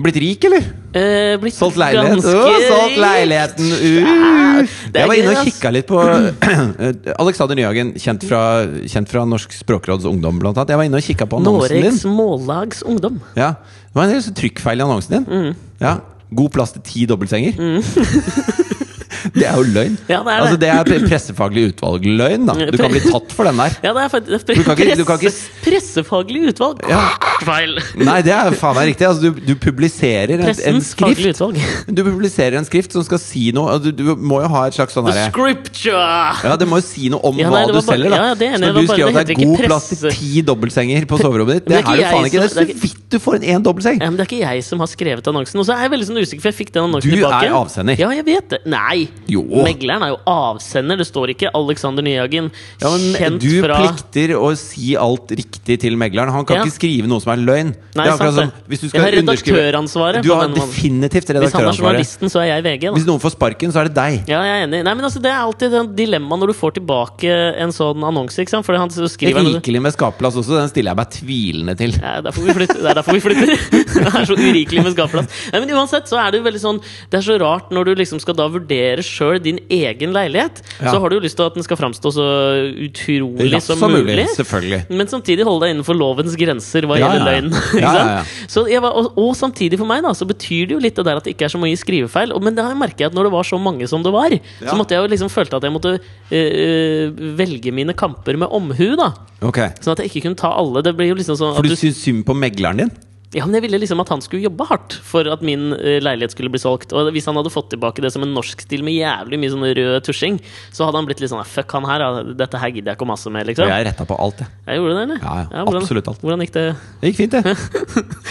Speaker 2: Blitt rik, eller?
Speaker 1: Eh, blitt
Speaker 2: Solgt leilighet?
Speaker 1: ganske
Speaker 2: Åh, solgt
Speaker 1: rik.
Speaker 2: leiligheten!
Speaker 1: Ja,
Speaker 2: Uh.
Speaker 1: det er
Speaker 2: Jeg var inne
Speaker 1: gøy,
Speaker 2: og
Speaker 1: ass.
Speaker 2: kikka litt på eh, Alexander Nyhagen, kjent fra, kjent fra Norsk språkråds ungdom, blant annet. Jeg var inne og kikka på annonsen din.
Speaker 1: Noregs Mållags Ungdom.
Speaker 2: Ja, Det var en del sånn trykkfeil i annonsen din.
Speaker 1: Mm.
Speaker 2: Ja. God plass til ti dobbeltsenger. det er jo løgn.
Speaker 1: Ja, det er det.
Speaker 2: Altså, det er pre- pressefaglig utvalg-løgn. da Du kan bli tatt for den der.
Speaker 1: Ja, det er faktisk
Speaker 2: Du kan ikke- du kan ikke-
Speaker 1: presse, Pressefaglig utvalg.
Speaker 2: Ja.
Speaker 1: Feil!
Speaker 2: Nei, det er faen meg riktig. Altså, du, du publiserer en, en
Speaker 1: Pressens
Speaker 2: skrift
Speaker 1: faglige utvalg.
Speaker 2: Du publiserer en skrift som skal si noe og du, du må jo ha et slags sånn
Speaker 1: The
Speaker 2: herre
Speaker 1: scripture!
Speaker 2: ja, Det må jo si noe om
Speaker 1: Ja, nei,
Speaker 2: hva
Speaker 1: det
Speaker 2: du
Speaker 1: var bare-
Speaker 2: selger. da
Speaker 1: ja, ja, det er enig,
Speaker 2: Så
Speaker 1: det
Speaker 2: når
Speaker 1: var
Speaker 2: du
Speaker 1: bare-
Speaker 2: skriver at
Speaker 1: det
Speaker 2: det
Speaker 1: heter
Speaker 2: er
Speaker 1: ikke
Speaker 2: god plass til
Speaker 1: presse.
Speaker 2: ti dobbeltsenger på soverommet ditt,
Speaker 1: Men det
Speaker 2: det
Speaker 1: er
Speaker 2: er jo
Speaker 1: ikke
Speaker 2: faen
Speaker 1: jeg
Speaker 2: ikke det!
Speaker 1: som-
Speaker 2: Så
Speaker 1: det er ikke-
Speaker 2: vidt du får en én dobbeltseng!
Speaker 1: Ja, men det er ikke jeg som har skrevet annonsen. Og så er jeg veldig sånn usikker, for jeg fikk den annonsen
Speaker 2: Du
Speaker 1: tilbake.
Speaker 2: er avsender.
Speaker 1: Ja, jeg vet det. Nei!
Speaker 2: Jo.
Speaker 1: Megleren er jo avsender. Det står ikke Alexander Nyhagen.
Speaker 2: Ja, men
Speaker 1: kjent
Speaker 2: du
Speaker 1: fra
Speaker 2: plikter å si alt riktig til megleren. Han kan
Speaker 1: Ja.
Speaker 2: ikke skrive noe som er løgn.
Speaker 1: Nei,
Speaker 2: Det er akkurat
Speaker 1: sant det.
Speaker 2: som hvis du
Speaker 1: Jeg
Speaker 2: skal
Speaker 1: har
Speaker 2: underskrive-
Speaker 1: redaktøransvaret
Speaker 2: Du
Speaker 1: på
Speaker 2: har
Speaker 1: denne måten.
Speaker 2: definitivt
Speaker 1: Hvis han er
Speaker 2: redaktøransvaret.
Speaker 1: journalisten, så er jeg VG. Da.
Speaker 2: Hvis noen får sparken, så er det deg.
Speaker 1: Ja, jeg er enig. Nei, men altså, Det er alltid et dilemma når du får tilbake en sånn annonse. ikke sant? Fordi han så skriver han-
Speaker 2: Rikelig med skapplass også, den stiller jeg meg tvilende til.
Speaker 1: Ja, derfor vi flytter. Det er derfor vi flytter. Det er så urikelig med skapplass. Nei, men uansett så er det jo veldig sånn Det er så rart når du liksom skal da vurdere sjøl din egen leilighet.
Speaker 2: Ja.
Speaker 1: Så har du jo lyst til at den skal framstå så utrolig
Speaker 2: Raskt
Speaker 1: som
Speaker 2: som mulig,
Speaker 1: mulig.
Speaker 2: selvfølgelig.
Speaker 1: Men samtidig holde deg innenfor lovens grenser hva
Speaker 2: Ja,
Speaker 1: gjelder
Speaker 2: ja, ja.
Speaker 1: løgn.
Speaker 2: Ja,
Speaker 1: ikke sant?
Speaker 2: ja, ja.
Speaker 1: Så jeg var, og, og samtidig for meg da Så betyr det jo litt det der at det ikke er så mange skrivefeil. Og, men det har jeg merket at når det var så mange som det var,
Speaker 2: Ja.
Speaker 1: så måtte jeg jo liksom følte at jeg måtte eh, eh, velge mine kamper med omhu. da
Speaker 2: Ok
Speaker 1: Sånn at jeg ikke kunne ta alle. Det blir jo liksom sånn at
Speaker 2: For du syns synd på megleren din?
Speaker 1: ja, men Jeg ville liksom at han skulle jobbe hardt for at min eh, leilighet skulle bli solgt. Og hvis han hadde fått tilbake det som en norsk stil med jævlig mye sånn rød tusjing, så hadde han blitt litt sånn "Ah, Fuck han her, ja. dette her gidder jeg ikke å mase med.
Speaker 2: Og
Speaker 1: liksom
Speaker 2: jeg retta på alt, jeg.
Speaker 1: Jeg gjorde det, eller?
Speaker 2: Ja, ja,
Speaker 1: hvordan,
Speaker 2: absolutt alt.
Speaker 1: Hvordan gikk det?
Speaker 2: Det gikk fint, det.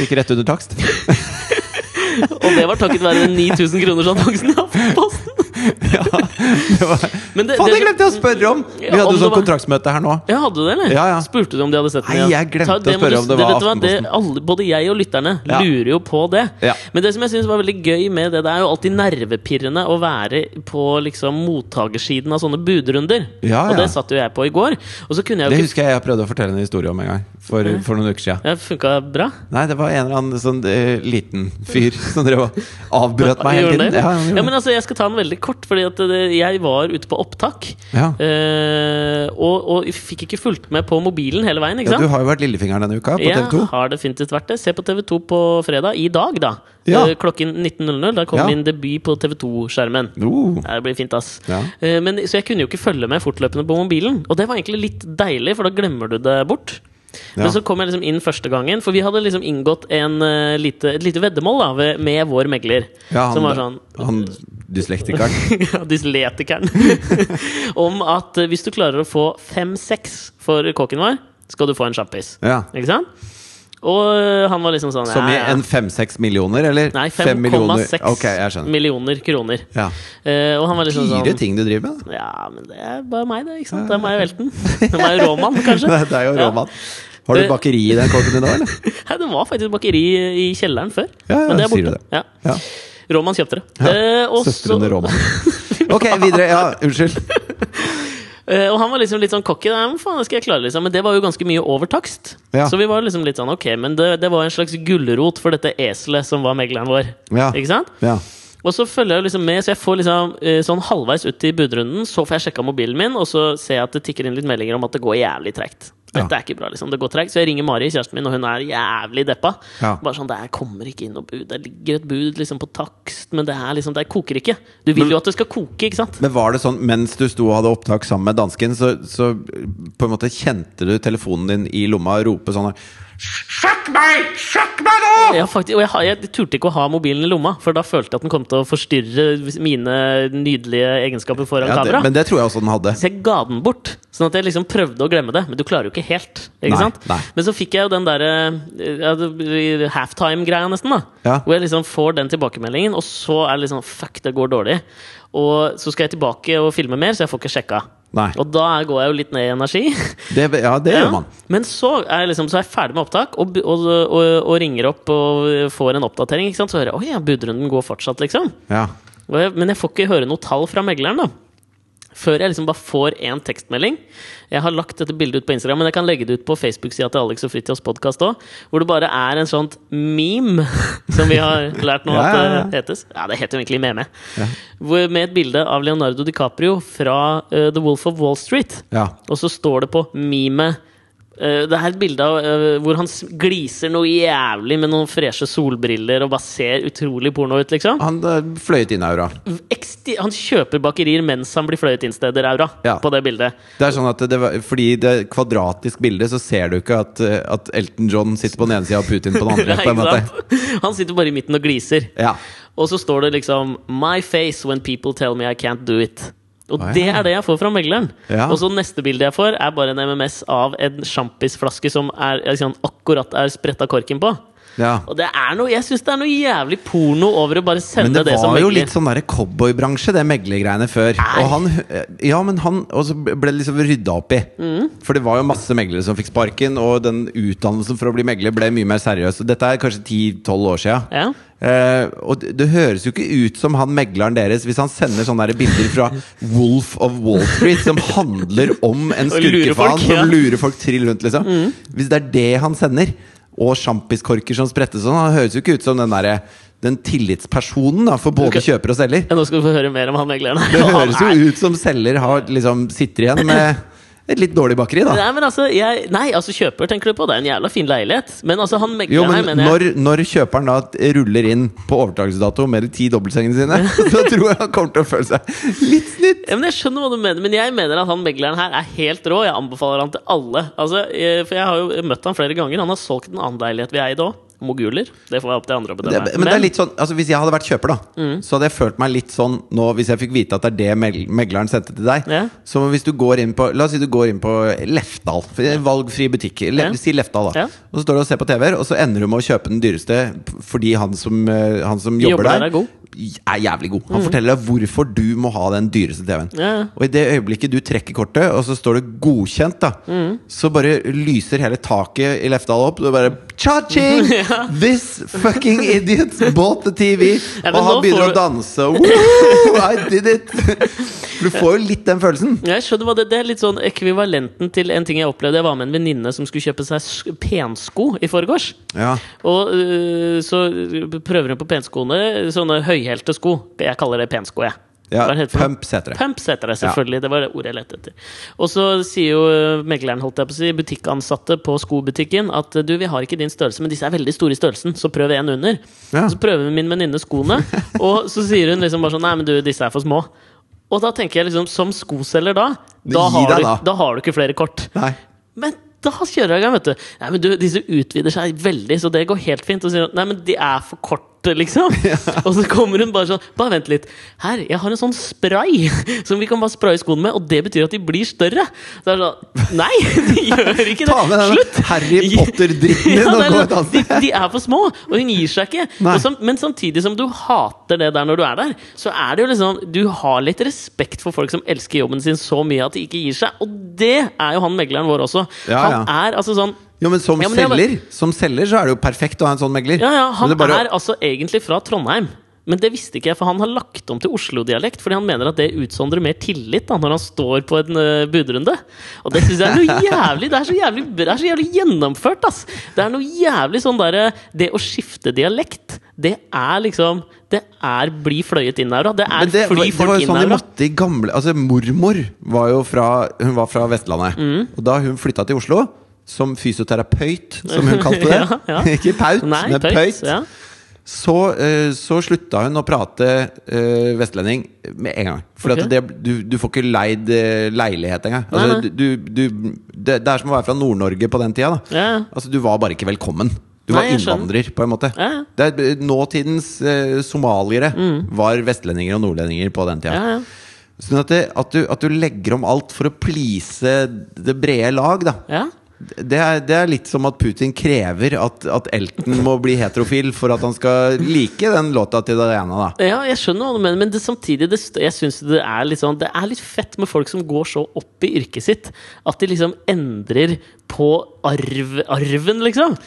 Speaker 2: Gikk rett under takst.
Speaker 1: Og det var takket være den 9000 kroners annonsen i Aftenposten!
Speaker 2: Ja, det var...
Speaker 1: Men det-
Speaker 2: Faen, det
Speaker 1: det-
Speaker 2: glemte jeg å spørre om! Vi
Speaker 1: Ja,
Speaker 2: hadde
Speaker 1: om
Speaker 2: jo
Speaker 1: det
Speaker 2: sånn
Speaker 1: var-
Speaker 2: kontraktsmøte her nå.
Speaker 1: Ja, hadde du det, eller?
Speaker 2: Ja, ja.
Speaker 1: Spurte du om de hadde sett den?
Speaker 2: Nei,
Speaker 1: ja?
Speaker 2: jeg glemte
Speaker 1: Ta-
Speaker 2: å
Speaker 1: det må
Speaker 2: spørre
Speaker 1: du-
Speaker 2: om det var
Speaker 1: vet du hva, det-
Speaker 2: Aftenposten.
Speaker 1: alle, Både jeg og lytterne
Speaker 2: Ja.
Speaker 1: lurer jo på det.
Speaker 2: Ja.
Speaker 1: Men det som jeg synes var veldig gøy med det, det er jo alltid nervepirrende å være på liksom mottakersiden av sånne budrunder.
Speaker 2: Ja,
Speaker 1: Og
Speaker 2: ja.
Speaker 1: det satt jo jeg på i går. Og så kunne jeg jo
Speaker 2: Det
Speaker 1: ikke
Speaker 2: husker jeg jeg prøvde å fortelle en historie om en gang. For, for noen uker sia.
Speaker 1: ja, Funka bra?
Speaker 2: Nei, det var en eller annen sånn eh, liten fyr som drev og avbrøt meg hele
Speaker 1: Gjorde den
Speaker 2: tiden.
Speaker 1: det?
Speaker 2: Ja, han gjorde
Speaker 1: Ja, men altså, jeg skal ta den veldig kort, fordi at det, jeg var ute på opptak.
Speaker 2: det. ja.
Speaker 1: eh, og, og fikk ikke fulgt med på mobilen hele veien, ikke
Speaker 2: ja,
Speaker 1: sant?
Speaker 2: du har jo vært lillefingeren denne uka på
Speaker 1: Jeg
Speaker 2: TV2.
Speaker 1: har definitivt vært det. Se på TV2 på fredag. I dag, da.
Speaker 2: Ja.
Speaker 1: Eh, Klokken 19.00. Da kommer
Speaker 2: Ja.
Speaker 1: min debut på TV2-skjermen.
Speaker 2: Oh.
Speaker 1: Ja, Det blir fint, ass.
Speaker 2: Ja.
Speaker 1: Eh, Men, så jeg kunne jo ikke følge med fortløpende på mobilen. Og det var egentlig litt deilig, for da glemmer du det bort.
Speaker 2: Ja.
Speaker 1: Men så kom jeg liksom inn første gangen, for vi hadde liksom inngått en, eh, lite, et lite veddemål da, ved- med vår megler.
Speaker 2: Ja, han,
Speaker 1: som var sånn
Speaker 2: han dyslektikeren.
Speaker 1: ja, Dyslektikeren. Om at eh, hvis du klarer å få fem-seks for kåken vår, skal du få en sjampis.
Speaker 2: Ja.
Speaker 1: Ikke sant? Og øh, han var liksom sånn
Speaker 2: Som i
Speaker 1: ja, ja.
Speaker 2: en fem-seks millioner, eller?
Speaker 1: Nei,
Speaker 2: Fem millioner.
Speaker 1: 5,6
Speaker 2: Ok, jeg skjønner.
Speaker 1: millioner kroner.
Speaker 2: Ja.
Speaker 1: Eh, og han var liksom
Speaker 2: Fire
Speaker 1: sånn
Speaker 2: ting du driver med, da.
Speaker 1: Ja, men det er bare meg, det. ikke sant? Det er meg og velten. Det er meg og råmann, kanskje.
Speaker 2: Det det er jo
Speaker 1: Ja.
Speaker 2: råmann. Har du
Speaker 1: Det-
Speaker 2: bakeri i den kåken din nå, eller?
Speaker 1: Nei, det var faktisk bakeri i kjelleren før.
Speaker 2: Ja, ja,
Speaker 1: men det er
Speaker 2: sier
Speaker 1: borte.
Speaker 2: du det.
Speaker 1: Ja.
Speaker 2: Ja.
Speaker 1: Råmann kjøpte det. Eh, og
Speaker 2: Søstrene
Speaker 1: så-
Speaker 2: Råmann. Ok, videre. Ja, unnskyld.
Speaker 1: Eh, og han var liksom litt sånn cocky. Nei, men faen, det skal jeg klare liksom Men det var jo ganske mye over takst.
Speaker 2: Ja.
Speaker 1: Så vi var liksom litt sånn ok, men det, det var en slags gulrot for dette eselet som var megleren vår.
Speaker 2: Ja.
Speaker 1: Ikke sant?
Speaker 2: Ja.
Speaker 1: Og så følger jeg liksom med, så jeg får liksom eh, sånn halvveis ut i budrunden. Så får jeg sjekka mobilen min, og så ser jeg at det tikker inn litt meldinger om at det går jævlig tregt. Dette er
Speaker 2: Ja.
Speaker 1: ikke bra, liksom. Det går tregt. Så jeg ringer Mari, kjæresten min, og hun er jævlig deppa.
Speaker 2: Ja.
Speaker 1: Bare sånn, det her kommer ikke inn noe bud. Det ligger et bud liksom på takst, men det her liksom, det her koker ikke. Du vil jo at det skal koke, ikke sant?
Speaker 2: Men var det sånn mens du sto og hadde opptak sammen med dansken, så, så på en måte kjente du telefonen din i lomma og rope sånn her
Speaker 3: Fuck meg! Hei, sjekk meg nå!
Speaker 1: Ja, faktisk, og jeg, har- jeg turte ikke å ha mobilen i lomma, for da følte jeg at den kom til å forstyrre mine nydelige egenskaper foran
Speaker 2: Ja, det,
Speaker 1: kamera.
Speaker 2: men det tror jeg også den hadde.
Speaker 1: Så jeg ga den bort, sånn at jeg liksom prøvde å glemme det. Men du klarer jo ikke helt. ikke
Speaker 2: Nei,
Speaker 1: sant?
Speaker 2: nei.
Speaker 1: Men så fikk jeg jo den derre ja, det- halftime-greia, nesten. da
Speaker 2: Ja.
Speaker 1: Hvor jeg liksom får den tilbakemeldingen, og så er det liksom Fuck, det går dårlig. Og så skal jeg tilbake og filme mer, så jeg får ikke sjekka.
Speaker 2: Nei.
Speaker 1: Og da går jeg jo litt ned i energi.
Speaker 2: Det, ja, det
Speaker 1: Ja.
Speaker 2: gjør man.
Speaker 1: Men så er, jeg liksom, så er jeg ferdig med opptak og, bu- og, og, og ringer opp og får en oppdatering. Ikke sant? Så hører jeg oi, ja, budrunden går fortsatt, liksom.
Speaker 2: Ja.
Speaker 1: Og jeg, men jeg får ikke høre noe tall fra megleren. da før jeg liksom bare får én tekstmelding. Jeg har lagt dette bildet ut på Instagram, men jeg kan legge det ut på Facebook-sida til Alex og Fritjofs podkast òg. Hvor det bare er en sånt meme, som vi har lært nå
Speaker 2: Ja,
Speaker 1: at
Speaker 2: ja, ja.
Speaker 1: det hetes. Ja, det heter jo egentlig meme. Hvor, med et bilde av Leonardo DiCaprio fra eh, The Wolf of Wall Street.
Speaker 2: ja.
Speaker 1: Og så står det på memet eh, Det er et bilde av eh, hvor han s- gliser noe jævlig med noen freshe solbriller og bare ser utrolig porno ut, liksom.
Speaker 2: Han eh, fløyet inn aura.
Speaker 1: Eksti- Han kjøper bakerier mens han blir fløyet inn steder, Aura,
Speaker 2: Ja.
Speaker 1: på det bildet.
Speaker 2: Det er sånn at det var, Fordi det er kvadratisk bilde, så ser du ikke at, eh, at Elton John sitter på den ene sida og Putin på den andre.
Speaker 1: Nei,
Speaker 2: på en
Speaker 1: ikke
Speaker 2: måte.
Speaker 1: sant? Han sitter bare i midten og gliser.
Speaker 2: Ja.
Speaker 1: Og så står det liksom 'My face when people tell me I can't do it'. Og
Speaker 2: Å, ja.
Speaker 1: det er det jeg får fra megleren.
Speaker 2: Ja.
Speaker 1: Og så neste bilde jeg får, er bare en MMS av en sjampisflaske som er, liksom, akkurat er spretta korken på.
Speaker 2: ja.
Speaker 1: Og det er noe, jeg syns det er noe jævlig porno over å bare
Speaker 2: Men
Speaker 1: sende
Speaker 2: det,
Speaker 1: det, som
Speaker 2: var jo
Speaker 1: megler.
Speaker 2: litt sånn derre cowboybransje, det meglergreiene før. Og han, ja, men han Og så ble det liksom rydda opp i.
Speaker 1: Mm.
Speaker 2: For det var jo masse meglere som fikk sparken, og den utdannelsen for å bli megler ble mye mer seriøs. Og Dette er kanskje 10-12 år sia.
Speaker 1: Ja.
Speaker 2: Eh, og det, det høres jo ikke ut som han megleren deres hvis han sender sånne der bilder fra Wolf of Wall Street som handler om en
Speaker 1: Og lurer
Speaker 2: skurkefan
Speaker 1: folk, ja.
Speaker 2: som lurer folk trill rundt, liksom.
Speaker 1: Mm.
Speaker 2: Hvis det er det han sender, og sjampiskorker som sprettes sånn, han høres jo ikke ut som den derre den tillitspersonen da, for både
Speaker 1: Ok.
Speaker 2: kjøper og selger.
Speaker 1: Ja, Nå skal du få høre mer om han megleren.
Speaker 2: Det
Speaker 1: Han
Speaker 2: høres
Speaker 1: er-
Speaker 2: jo ut som selger har, liksom, sitter igjen med et litt dårlig bakeri, da.
Speaker 1: Nei, men altså, jeg, nei, altså kjøper, tenker du på. Det er en jævla fin leilighet. Men altså, han megleren
Speaker 2: Jo,
Speaker 1: her,
Speaker 2: men
Speaker 1: mener jeg
Speaker 2: når, når kjøperen da ruller inn på overtakelsesdato med de ti dobbeltsengene sine, så tror jeg han kommer til å føle seg litt snytt.
Speaker 1: ja, men Jeg skjønner hva du mener, men jeg mener at han megleren her er helt rå. Jeg anbefaler han til alle. Altså, eh, for jeg har jo møtt han flere ganger. Han har solgt en annen leilighet vi eide òg. Moguler. Det får være opp til andre å
Speaker 2: Det,
Speaker 1: bedømme.
Speaker 2: men, det er litt sånn, altså Hvis jeg hadde vært kjøper, da
Speaker 1: Mm.
Speaker 2: så hadde jeg følt meg litt sånn nå hvis jeg fikk vite at det er det meg- megleren sendte til deg.
Speaker 1: Ja.
Speaker 2: Så hvis du går inn på La oss si du går inn på Lefdal. for det er Valgfri butikk. Le,
Speaker 1: Ja.
Speaker 2: Si Lefdal, da.
Speaker 1: Ja.
Speaker 2: Og så står du og ser på TV-er, og så ender du med å kjøpe den dyreste p- fordi han som, eh, han som
Speaker 1: Jobber
Speaker 2: jobber,
Speaker 1: der
Speaker 2: der,
Speaker 1: er god.
Speaker 2: er jævlig god. Han forteller deg hvorfor du må ha den dyreste TV-en.
Speaker 1: Mm. Ja, ja.
Speaker 2: Og i det øyeblikket du trekker kortet, og så står det 'godkjent', da
Speaker 1: Mm.
Speaker 2: så bare lyser hele taket i Lefdal opp. Og det bare Cha-ching! This fucking idiot bought the TV!
Speaker 1: Ja, men
Speaker 2: og
Speaker 1: nå
Speaker 2: han begynner
Speaker 1: får
Speaker 2: å
Speaker 1: du-
Speaker 2: danse. og Woo, I did it! Du får jo litt den følelsen.
Speaker 1: Ja, Jeg skjønner hva det, det er litt sånn ekvivalenten til en ting jeg opplevde. Jeg var med en venninne som skulle kjøpe seg sk- pensko i forgårs.
Speaker 2: Ja.
Speaker 1: Og øh, så prøver hun på penskoene sånne høyhælte sko. Jeg kaller det pensko, jeg.
Speaker 2: Ja,
Speaker 1: Hva er det heter for noe?
Speaker 2: pumps heter det.
Speaker 1: Pumps heter det, selvfølgelig. Det var det ordet jeg lette etter. Og så sier jo øh, megleren, holdt jeg på å si, butikkansatte på skobutikken at øh, du, vi har ikke din størrelse, men disse er veldig store i størrelsen, så prøv en under.
Speaker 2: Ja.
Speaker 1: Så prøver min venninne skoene, og så sier hun liksom bare sånn nei, men du, disse er for små. Og da tenker jeg liksom, som skoselger da,
Speaker 2: Men
Speaker 1: da
Speaker 2: gi
Speaker 1: har,
Speaker 2: deg
Speaker 1: du,
Speaker 2: da.
Speaker 1: da har du ikke flere kort.
Speaker 2: Nei.
Speaker 1: Men da kjører jeg i gang, vet du. Nei, men du, disse utvider seg veldig, så det går helt fint. Og sier hun, nei, men de er for korte, liksom. Og så kommer hun bare sånn, bare vent litt. Her, jeg har en sånn spray som vi kan bare spraye skoene med, og det betyr at de blir større. Så er det sånn, nei, de gjør ikke det.
Speaker 2: Ta med den
Speaker 1: Slutt!
Speaker 2: Harry
Speaker 1: Gi-
Speaker 2: Potter-dritten
Speaker 1: Ja,
Speaker 2: din og
Speaker 1: det er sånn,
Speaker 2: gå et annet
Speaker 1: de,
Speaker 2: sted.
Speaker 1: de er for små, og hun gir seg ikke.
Speaker 2: Nei.
Speaker 1: Og sam, men samtidig som du hater det der når du er der, så er det jo liksom Du har litt respekt for folk som elsker jobben sin så mye at de ikke gir seg. Og det er jo han megleren vår også.
Speaker 2: Ja,
Speaker 1: han er altså sånn
Speaker 2: Jo, men som
Speaker 1: Ja, men det var-
Speaker 2: selger Som selger så er det jo perfekt å ha en sånn megler.
Speaker 1: Ja, ja, han
Speaker 2: Men det bare-
Speaker 1: er altså egentlig fra Trondheim. Men det visste ikke jeg, for han har lagt om til Oslo-dialekt. Fordi han mener at det utsondrer mer tillit da når han står på en eh, budrunde. Og det syns jeg er noe jævlig Det er så jævlig, bra- det er så jævlig gjennomført, ass! Det er noe jævlig sånn derre Det å skifte dialekt, det er liksom Det er bli fløyet inn-aura. Det
Speaker 2: Men
Speaker 1: er
Speaker 2: det,
Speaker 1: fly
Speaker 2: det var
Speaker 1: folk
Speaker 2: jo sånn de
Speaker 1: inn-aura.
Speaker 2: måtte i gamle Altså Mormor var jo fra Hun var fra Vestlandet.
Speaker 1: Mm.
Speaker 2: Og da hun flytta til Oslo, som fysioterapeut, som hun kalte det
Speaker 1: Ja, ja.
Speaker 2: Ikke paut,
Speaker 1: Nei,
Speaker 2: men
Speaker 1: tøyt.
Speaker 2: pøyt.
Speaker 1: Ja.
Speaker 2: Så, eh, så slutta hun å prate eh, vestlending med en gang. For
Speaker 1: Ok.
Speaker 2: at det, du, du får ikke leid eh, leilighet engang. Altså,
Speaker 1: Nei, nei.
Speaker 2: du, du, det, det er som å være fra Nord-Norge på den tida. Da.
Speaker 1: Ja.
Speaker 2: Altså, du var bare ikke velkommen. Du Du var
Speaker 1: Nei, jeg skjønner.
Speaker 2: innvandrer, på en måte.
Speaker 1: Ja, ja. Mm.
Speaker 2: Det er, nåtidens eh, somaliere var vestlendinger og nordlendinger på den tida.
Speaker 1: Ja, ja.
Speaker 2: Sånn at, det, at, du, at du legger om alt for å please det brede lag, da.
Speaker 1: ja.
Speaker 2: Det er, det er litt som at Putin krever at, at Elton må bli heterofil for at han skal like den låta til Diana, da.
Speaker 1: Ja, jeg skjønner hva du mener, men det, samtidig det, st- jeg synes det, er litt sånn, det er litt fett med folk som går så opp i yrket sitt at de liksom endrer på arv, arven, liksom.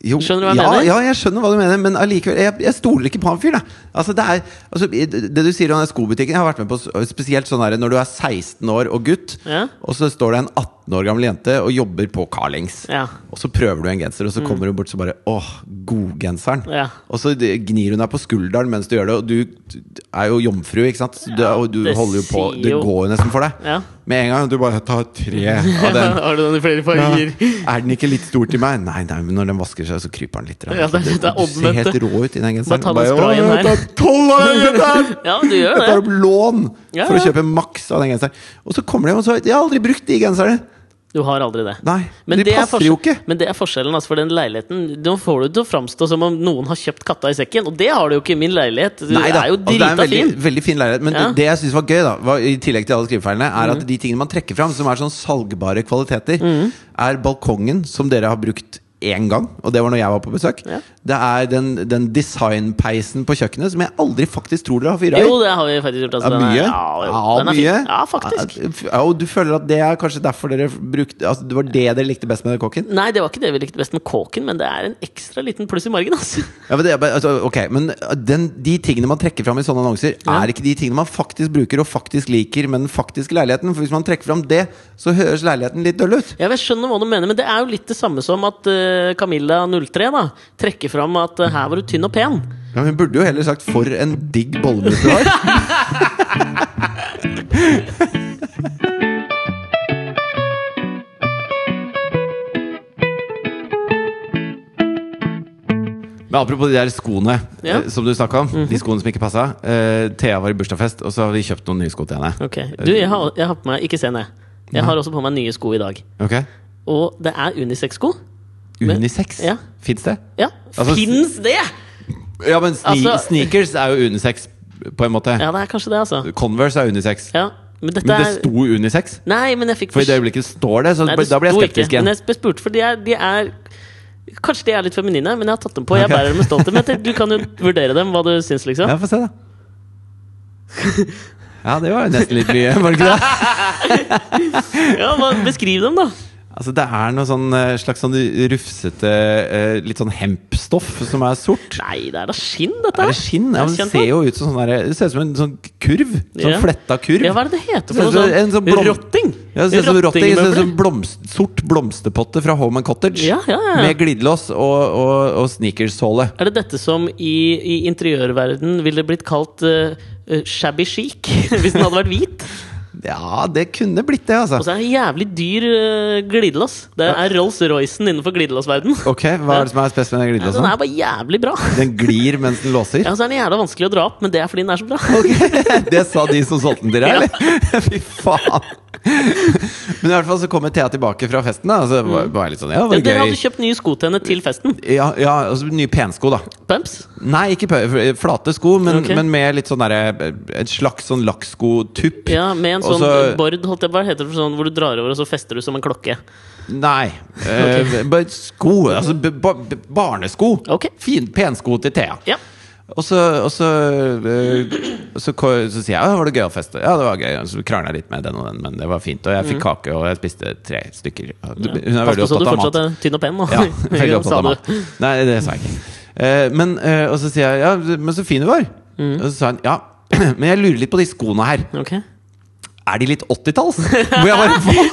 Speaker 2: Jo,
Speaker 1: Skjønner du hva jeg
Speaker 2: ja,
Speaker 1: mener?
Speaker 2: Ja, jeg skjønner hva du mener, men allikevel Jeg, jeg stoler ikke på han fyren, da. Altså, det, er, altså, i- det du sier om den skobutikken, jeg har vært med på s- spesielt sånn her når du er 16 år og gutt,
Speaker 1: Ja.
Speaker 2: og så står det en 18 år gammel jente og jobber på Carlings.
Speaker 1: Ja.
Speaker 2: Og så prøver du en genser, og så kommer hun bort så bare Åh, godgenseren.
Speaker 1: Mm. Ja.
Speaker 2: Og så de- gnir hun deg på skulderen mens du gjør det, og du du er jo jomfru, ikke sant? Så du, og du
Speaker 1: det
Speaker 2: holder jo på
Speaker 1: sier
Speaker 2: Det
Speaker 1: jo-
Speaker 2: går jo nesten for deg.
Speaker 1: Ja.
Speaker 2: Med en gang du bare tar tre av den.
Speaker 1: Har du den i flere farger?
Speaker 2: Ja. Er den ikke litt stor til meg? Nei, nei, men når den vasker seg, så kryper den litt.
Speaker 1: Ja, det er- det er
Speaker 2: du ser
Speaker 1: omvendt.
Speaker 2: helt rå ut i den
Speaker 1: Bare
Speaker 2: genseren.
Speaker 1: ta den
Speaker 2: «Å,
Speaker 1: sprayen
Speaker 2: jeg
Speaker 1: her.»
Speaker 2: tar tolv av den genseren!
Speaker 1: Ja, du gjør
Speaker 2: Jeg
Speaker 1: det.
Speaker 2: tar opp lån
Speaker 1: Ja,
Speaker 2: for å
Speaker 1: ja.
Speaker 2: kjøpe maks av den genseren. Og så kommer de og så Jeg har aldri brukt de genserne!
Speaker 1: Du har aldri det.
Speaker 2: Nei,
Speaker 1: Men
Speaker 2: de
Speaker 1: det, er
Speaker 2: passer jo ikke.
Speaker 1: forskjell- men det er forskjellen altså, for den leiligheten. Nå får du det til å framstå som om noen har kjøpt katta i sekken, og det har du jo ikke i min leilighet. Du
Speaker 2: Nei da,
Speaker 1: er jo
Speaker 2: altså, det
Speaker 1: drita
Speaker 2: er en veldig,
Speaker 1: fin.
Speaker 2: veldig fin leilighet. Men
Speaker 1: Ja. Mm.
Speaker 2: det jeg syns var gøy, da var, i tillegg til alle skrivefeilene, er at de tingene man trekker fram som er sånn salgbare kvaliteter, er balkongen, som dere har brukt én gang, og det var når jeg var på besøk.
Speaker 1: Ja.
Speaker 2: Det er den, den designpeisen på kjøkkenet som jeg aldri faktisk tror dere har fyra
Speaker 1: Jo,
Speaker 2: i.
Speaker 1: det har vi faktisk gjort.
Speaker 2: Det
Speaker 1: Altså,
Speaker 2: er
Speaker 1: den er-
Speaker 2: mye.
Speaker 1: Ja, jo,
Speaker 2: Ja,
Speaker 1: den er fin.
Speaker 2: mye.
Speaker 1: ja, faktisk.
Speaker 2: Ja, og du føler at det er kanskje derfor dere brukte Altså, det var det dere likte best med kåken?
Speaker 1: Nei, det var ikke det vi likte best med kåken, men det er en ekstra liten pluss i margen. Altså.
Speaker 2: Ja, men det, er bare- altså, ok, men den, de tingene man trekker fram i sånne annonser,
Speaker 1: Ja.
Speaker 2: er ikke de tingene man faktisk bruker og faktisk liker med den faktiske leiligheten. For hvis man trekker fram det, så høres leiligheten litt døll ut.
Speaker 1: Ja, men jeg skjønner hva du mener, men det er jo litt det samme som at eh, Camilla 03 da, trekker fram at eh, her var du tynn og pen.
Speaker 2: Ja, Hun burde jo heller sagt 'for en digg bollemut du har'. Men apropos de der skoene
Speaker 1: Ja. Mhm.
Speaker 2: eh, som du snakka om. De skoene som ikke passa. Eh, Thea var i bursdagsfest, og så har vi kjøpt noen nye sko til henne.
Speaker 1: Ok, Du, jeg har, jeg har på meg Ikke se ned. Jeg har også på meg nye sko i dag.
Speaker 2: Ok?
Speaker 1: Og det er unisex-sko. Men-
Speaker 2: Unisex?
Speaker 1: Ja.
Speaker 2: Fins det?
Speaker 1: Ja,
Speaker 2: Altså,
Speaker 1: fins det?!
Speaker 2: Ja, men sne
Speaker 1: Altså-
Speaker 2: sneakers er jo unisex, på en måte.
Speaker 1: Ja, det er kanskje det, altså.
Speaker 2: Converse er unisex.
Speaker 1: Ja, men dette
Speaker 2: Men det
Speaker 1: er
Speaker 2: sto unisex.
Speaker 1: Nei, men jeg fikk
Speaker 2: For i det øyeblikket står det, så
Speaker 1: Nei,
Speaker 2: ble-
Speaker 1: det
Speaker 2: da blir
Speaker 1: sto ikke,
Speaker 2: jeg skeptisk igjen.
Speaker 1: Men jeg spurte, for de er, de er Kanskje de er litt feminine, men jeg har tatt dem på. Jeg
Speaker 2: Ok.
Speaker 1: bærer dem med stolthet. Men jeg tenkte, du kan jo vurdere dem, hva du syns, liksom.
Speaker 2: Ja, få se, da. Ja, det var jo nesten litt mye, var det ikke det?
Speaker 1: Ja, hva- Beskriv dem, da.
Speaker 2: Altså, det er noe sånn eh, slags sånn rufsete, eh, litt sånn hempstoff som er sort.
Speaker 1: Nei, det er da skinn, dette
Speaker 2: Er
Speaker 1: her.
Speaker 2: det skinn? Ja, men
Speaker 1: Jeg
Speaker 2: det
Speaker 1: kjente
Speaker 2: ser jo ut som sånn der, Det ser ut som en sånn kurv. Sånn
Speaker 1: Ja.
Speaker 2: fletta kurv.
Speaker 1: Ja, hva er det det heter?
Speaker 2: Det
Speaker 1: For
Speaker 2: ser
Speaker 1: noe
Speaker 2: ut som en
Speaker 1: sånn
Speaker 2: sånn blom-
Speaker 1: Rotting?
Speaker 2: Ja, det ser ut som rotting. Det ser ut
Speaker 1: Rottingmøbler?
Speaker 2: som sånn blomst, sort blomsterpotte fra Home and Cottage.
Speaker 1: Ja, ja, ja.
Speaker 2: Med glidelås og, og, og sneakershåle.
Speaker 1: Er det dette som i, i interiørverden ville blitt kalt eh, eh, shabby chic? Hvis den hadde vært hvit.
Speaker 2: Ja, det kunne blitt det,
Speaker 1: Og
Speaker 2: altså.
Speaker 1: så er det en jævlig dyr eh, glidelås. Det er Rolls-Roycen innenfor glidelåsverden.
Speaker 2: Ok, Hva er det som er spesielt med
Speaker 1: Den
Speaker 2: den glidelåsen?
Speaker 1: er bare jævlig bra.
Speaker 2: Den glir mens den låser?
Speaker 1: Ja, så er den jævla vanskelig å dra opp, men det er fordi den er så bra.
Speaker 2: Det sa de som solgte den til deg,
Speaker 1: Ja.
Speaker 2: eller? Fy faen. Men i hvert fall så kommer Thea tilbake fra festen, da. Og så var var jeg litt sånn Ja,
Speaker 1: Mm. Ja,
Speaker 2: det
Speaker 1: Dere
Speaker 2: var
Speaker 1: hadde
Speaker 2: gøy.
Speaker 1: kjøpt nye sko til henne til festen.
Speaker 2: Ja, ja, altså nye pensko, da.
Speaker 1: Pumps.
Speaker 2: Nei, ikke pø- flate sko, men,
Speaker 1: Ok.
Speaker 2: men med litt sånn derre Et slags sånn lakkskotupp.
Speaker 1: Ja, Med en
Speaker 2: Og
Speaker 1: sånn
Speaker 2: så-
Speaker 1: bord, holdt jeg, hva heter det for sånn, hvor du drar over og så fester du som en klokke.
Speaker 2: Nei. eh, bare sko. Altså b ba b barnesko.
Speaker 1: Ok.
Speaker 2: Fin, pensko til Thea.
Speaker 1: Ja.
Speaker 2: Og så, og så, eh, så, ko- så sier jeg at var det gøy å feste. Ja, det var gøy. Og så krangla jeg litt med den og den, men det var fint. Og jeg fikk kake, og jeg spiste tre stykker. Hun er
Speaker 1: Pass på
Speaker 2: veldig
Speaker 1: Mhm. så du
Speaker 2: opptatt av
Speaker 1: fortsatt
Speaker 2: mat.
Speaker 1: er tynn og pen nå.
Speaker 2: Ja, veldig
Speaker 1: Sa
Speaker 2: opptatt av
Speaker 1: du.
Speaker 2: mat. Nei, det sa jeg ikke. Eh, men, eh, og så sier jeg ja, men så fin du var.
Speaker 1: Mhm.
Speaker 2: Og så sa hun ja, men jeg lurer litt på de skoene her.
Speaker 1: Ok.
Speaker 2: Er de litt 80-talls? Hvor jeg bare hva?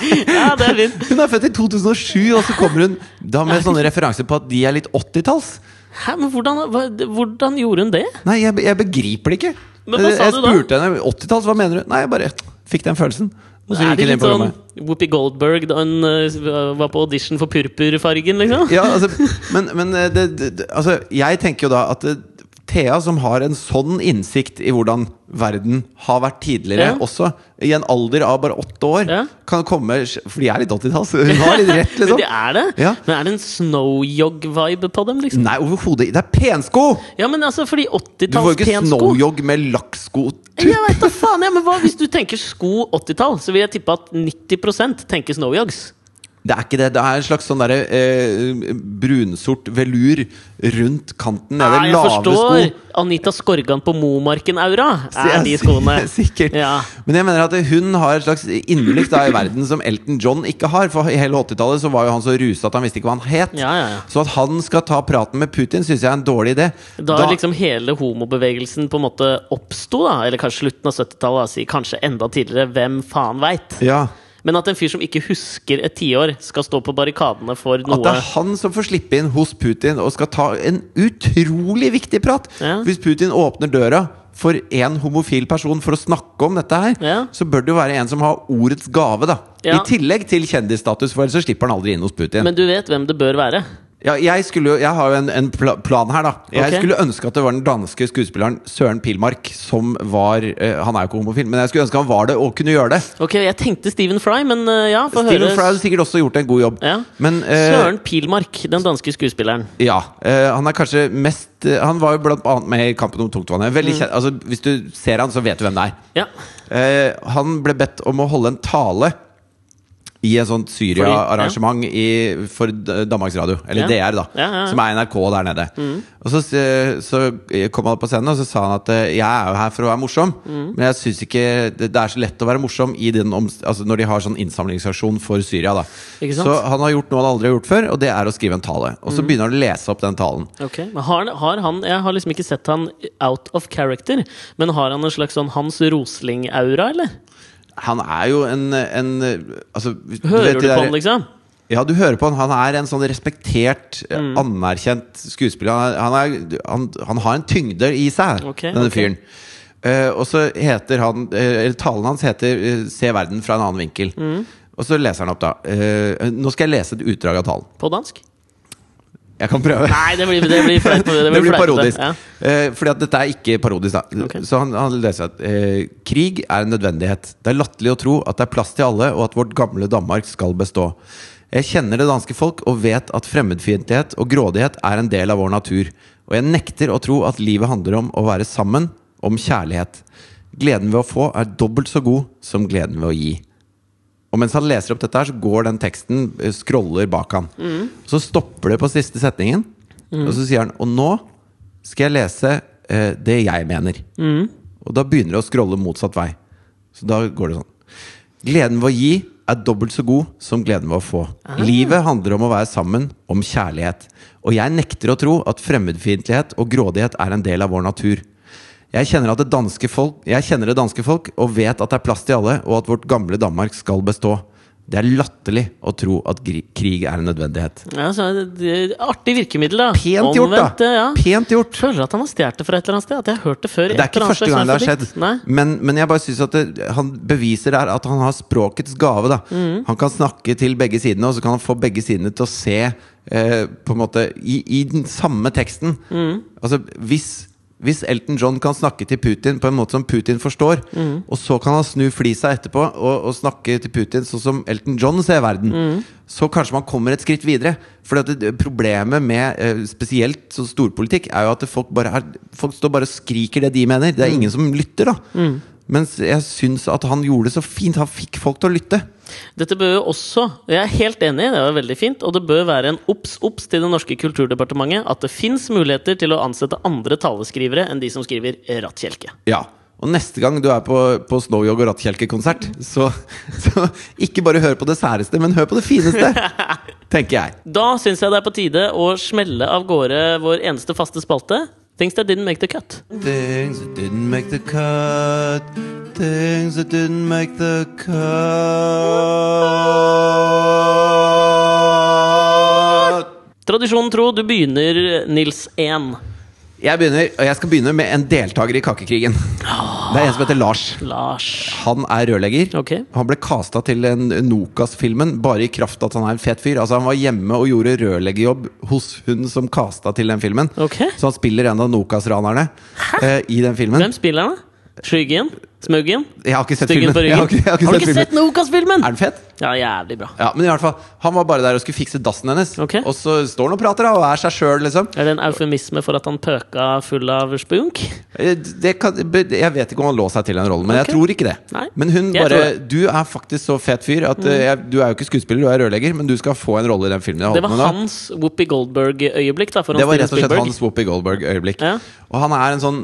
Speaker 1: Ja, det er fint.
Speaker 2: Hun er født i 2007, og så kommer hun da med sånne referanser på at de er litt 80-talls.
Speaker 1: Hæ, men hvordan, hva, hvordan gjorde hun det?
Speaker 2: Nei, jeg, jeg begriper det ikke.
Speaker 1: Men hva sa
Speaker 2: jeg
Speaker 1: du da?
Speaker 2: spurte henne 80-talls, hva mener du? Nei, jeg bare fikk den følelsen. Og så
Speaker 1: er
Speaker 2: gikk
Speaker 1: det
Speaker 2: hun inn
Speaker 1: litt
Speaker 2: på
Speaker 1: sånn
Speaker 2: rommet.
Speaker 1: Whoopi Goldberg da hun eh, var på audition for Purpurfargen, liksom?
Speaker 2: Ja, altså, men men eh, det, det, det- altså, jeg tenker jo da at eh, Thea, som har en sånn innsikt i hvordan verden har vært tidligere
Speaker 1: Ja.
Speaker 2: også, i en alder av bare åtte år,
Speaker 1: Ja.
Speaker 2: kan komme For de er litt 80-talls. Hun har litt rett, liksom.
Speaker 1: Men det er det?
Speaker 2: Ja.
Speaker 1: Men er det en snowyog-vibe på dem, liksom?
Speaker 2: Nei, overhodet ikke. Det er pensko!
Speaker 1: Ja, men altså, fordi
Speaker 2: Du får jo ikke
Speaker 1: 80-tallspensko
Speaker 2: snowjog med lakksko.
Speaker 1: Jeg vet da faen, ja, men hva Hvis du tenker sko 80-tall, så vil jeg tippe at 90 tenker snowyogs.
Speaker 2: Det er ikke det. Det er en slags sånn derre eh, brunsort velur rundt kanten.
Speaker 1: Nei,
Speaker 2: Eller
Speaker 1: jeg
Speaker 2: lave
Speaker 1: forstår!
Speaker 2: sko.
Speaker 1: Anita Skorgan på Momarken-aura er de
Speaker 2: Jeg-
Speaker 1: skoene.
Speaker 2: Sikkert.
Speaker 1: Ja.
Speaker 2: Men jeg mener at hun har et slags innblikk da i verden som Elton John ikke har. For i hele 80-tallet så var jo han så rusa at han visste ikke hva han het.
Speaker 1: Ja, ja, ja.
Speaker 2: Så at han skal ta praten med Putin, syns jeg er en dårlig idé.
Speaker 1: Da, liksom hele homobevegelsen på en måte oppsto, da. Eller kanskje slutten av 70-tallet, da, si. kanskje enda tidligere. Hvem faen veit?
Speaker 2: ja.
Speaker 1: Men at en fyr som ikke husker et tiår, skal stå på barrikadene for
Speaker 2: At det
Speaker 1: noe
Speaker 2: er han som får slippe inn hos Putin og skal ta en utrolig viktig prat.
Speaker 1: Ja.
Speaker 2: Hvis Putin åpner døra for én homofil person for å snakke om dette her,
Speaker 1: Ja.
Speaker 2: så bør det jo være en som har ordets gave, da.
Speaker 1: Ja.
Speaker 2: I tillegg til kjendisstatus, for ellers så slipper han aldri inn hos Putin.
Speaker 1: Men du vet hvem det bør være?
Speaker 2: ja, jeg, skulle, jo- jeg har jo en, en pla plan her, da. Jeg
Speaker 1: Ok.
Speaker 2: skulle ønske at det var den danske skuespilleren Søren Pilmark som var eh, Han er jo ikke homofil, men jeg skulle ønske han var det og kunne gjøre det.
Speaker 1: Ok, jeg tenkte Stephen Fry, men eh, ja, få høre.
Speaker 2: Steven Fry hadde sikkert også gjort en god jobb.
Speaker 1: Ja.
Speaker 2: Men, eh,
Speaker 1: Søren Pilmark, den danske skuespilleren.
Speaker 2: Ja. eh, han er kanskje mest eh, Han var jo blant annet med i Kampen om tungtvannet. Veldig kjent, altså, hvis du ser han, så vet du hvem det er.
Speaker 1: Ja.
Speaker 2: Eh, han ble bedt om å holde en tale i en sånn Syria-arrangement i- for D- Danmarks Radio,
Speaker 1: Ja.
Speaker 2: eller DR, da,
Speaker 1: Ja, Mm. ja, ja.
Speaker 2: som er NRK der nede. Og så, s- så kom han opp på scenen og så sa han at eh, jeg er jo her for å være morsom,
Speaker 1: Mm.
Speaker 2: men jeg syns ikke det, det er så lett å være morsom i den om, altså når de har sånn innsamlingsaksjon for Syria. da
Speaker 1: Ikke sant? Mm.
Speaker 2: Så han har gjort noe han aldri har gjort før, og det er å skrive en tale. Og så begynner han å lese opp den talen.
Speaker 1: Ok, men har, han- har han, Jeg har liksom ikke sett han out of character, men har han en slags sånn Hans Rosling-aura, eller?
Speaker 2: Han er jo en, en altså, du
Speaker 1: Hører
Speaker 2: vet de
Speaker 1: du på
Speaker 2: der-
Speaker 1: han, liksom?
Speaker 2: Ja, du hører på han. Han er en sånn respektert, eh,
Speaker 1: Mm.
Speaker 2: anerkjent skuespiller. Han, er, han, er, han, han har en tyngde i seg,
Speaker 1: Ok,
Speaker 2: denne
Speaker 1: ok.
Speaker 2: fyren. Eh, og så heter han eh, eller Talen hans heter eh, 'Se verden fra en annen vinkel'.
Speaker 1: Mm.
Speaker 2: Og så leser han opp, da. Eh, nå skal jeg lese et utdrag av talen.
Speaker 1: På dansk?
Speaker 2: Jeg kan prøve.
Speaker 1: Nei, det blir, det blir flaut.
Speaker 2: Det blir
Speaker 1: flaut,
Speaker 2: parodisk.
Speaker 1: Ja.
Speaker 2: Eh, fordi at dette er ikke parodisk. Da.
Speaker 1: Ok.
Speaker 2: Så han, han leser at eh, krig er en nødvendighet. Det er latterlig å tro at det er plass til alle, og at vårt gamle Danmark skal bestå. Jeg kjenner det danske folk og vet at fremmedfiendtlighet og grådighet er en del av vår natur. Og jeg nekter å tro at livet handler om å være sammen, om kjærlighet. Gleden ved å få er dobbelt så god som gleden ved å gi. Og mens han leser opp dette her, så går den teksten eh, scroller bak han. Så stopper det på siste setningen, og så sier han Og nå skal jeg lese eh, det jeg mener. Og da begynner det å scrolle motsatt vei. Så da går det sånn. Gleden ved å gi er dobbelt så god som gleden ved å få. Livet handler om å være sammen, om kjærlighet. Og jeg nekter å tro at fremmedfiendtlighet og grådighet er en del av vår natur. Jeg kjenner, at det danske folk, jeg kjenner det danske folk og vet at det er plass til alle, og at vårt gamle Danmark skal bestå. Det er latterlig å tro at gri- krig er en nødvendighet.
Speaker 1: Ja, så, er det- det, er artig virkemiddel, da.
Speaker 2: Pent gjort,
Speaker 1: Omvendt, eh,
Speaker 2: da!
Speaker 1: Ja.
Speaker 2: Pent gjort!
Speaker 1: Føler at han har stjålet det fra et eller annet sted. At jeg har hørt det før. i
Speaker 2: Det er
Speaker 1: et eller
Speaker 2: ikke
Speaker 1: annet
Speaker 2: første
Speaker 1: slags
Speaker 2: gang det har
Speaker 1: alfabet.
Speaker 2: skjedd,
Speaker 1: Nei.
Speaker 2: men, men jeg bare synes at det, han beviser der at han har språkets gave. Da.
Speaker 1: Mm.
Speaker 2: Han kan snakke til begge sidene, og så kan han få begge sidene til å se eh, På en måte i, i den samme teksten.
Speaker 1: Mm.
Speaker 2: Altså hvis hvis Elton John kan snakke til Putin på en måte som Putin forstår,
Speaker 1: Mm.
Speaker 2: og så kan han snu flisa etterpå og, og snakke til Putin sånn som Elton John ser verden, så kanskje man kommer et skritt videre. For problemet med eh, spesielt så storpolitikk er jo at det folk, bare er, folk står bare og skriker det de mener. Det er ingen som lytter, da. Mens jeg syns at han gjorde det så fint. Han fikk folk til å lytte.
Speaker 1: Dette bør jo også Jeg er helt enig, det var veldig fint. Og det bør være en obs-obs til det norske kulturdepartementet at det fins muligheter til å ansette andre taleskrivere enn de som skriver rattkjelke.
Speaker 2: Ja. Og neste gang du er på, på Snowjog og Rattkjelke-konsert, så, så ikke bare hør på det særeste, men hør på det fineste! Tenker jeg.
Speaker 1: Da syns jeg det er på tide å smelle av gårde vår eneste faste spalte. Things that didn't make the cut.
Speaker 2: Things that didn't make the cut. Things that didn't make the cut.
Speaker 1: Tradisjonen tro, du begynner, Nils 1.
Speaker 2: Jeg begynner, og jeg skal begynne med en deltaker i Kakekrigen. Det er en som heter Lars.
Speaker 1: Lars.
Speaker 2: Han er rørlegger.
Speaker 1: Ok.
Speaker 2: Han ble kasta til en Nokas-filmen bare i kraft av at han er en fet fyr. Altså Han var hjemme og gjorde rørleggerjobb hos hun som kasta til den filmen.
Speaker 1: Ok.
Speaker 2: Så han spiller en av Nokas-ranerne eh, i den filmen.
Speaker 1: Hvem spiller han? da? Skyggen? Smuggen?
Speaker 2: Jeg har ikke sett
Speaker 1: Styggen
Speaker 2: filmen.
Speaker 1: på
Speaker 2: Jeg
Speaker 1: ryggen?
Speaker 2: har ikke, jeg har ikke sett filmen.
Speaker 1: Nokas-filmen?
Speaker 2: Er den fet?
Speaker 1: Ja, jævlig bra.
Speaker 2: Ja, men i hvert fall Han var bare der og skulle fikse dassen hennes.
Speaker 1: Ok.
Speaker 2: Og så står han og prater da, og er seg sjøl, liksom.
Speaker 1: Er det en eufemisme for at han pøka full av spunk?
Speaker 2: Eh, Det kan, be- jeg vet ikke om han lå seg til den rollen, men
Speaker 1: Ok.
Speaker 2: jeg tror ikke det.
Speaker 1: Nei.
Speaker 2: Men hun
Speaker 1: Jeg
Speaker 2: bare
Speaker 1: tror Mm.
Speaker 2: Du er faktisk så fet fyr at eh, jeg, du er jo ikke skuespiller, du er rørlegger, men du skal få en rolle i den filmen. Jeg
Speaker 1: Det
Speaker 2: holdt
Speaker 1: var
Speaker 2: på med nå.
Speaker 1: hans Whoopi Goldberg-øyeblikk. da for
Speaker 2: Det
Speaker 1: han
Speaker 2: var
Speaker 1: Steven
Speaker 2: rett og slett
Speaker 1: Spielberg.
Speaker 2: hans Whoopi Goldberg-øyeblikk.
Speaker 1: Ja.
Speaker 2: Og han er en sånn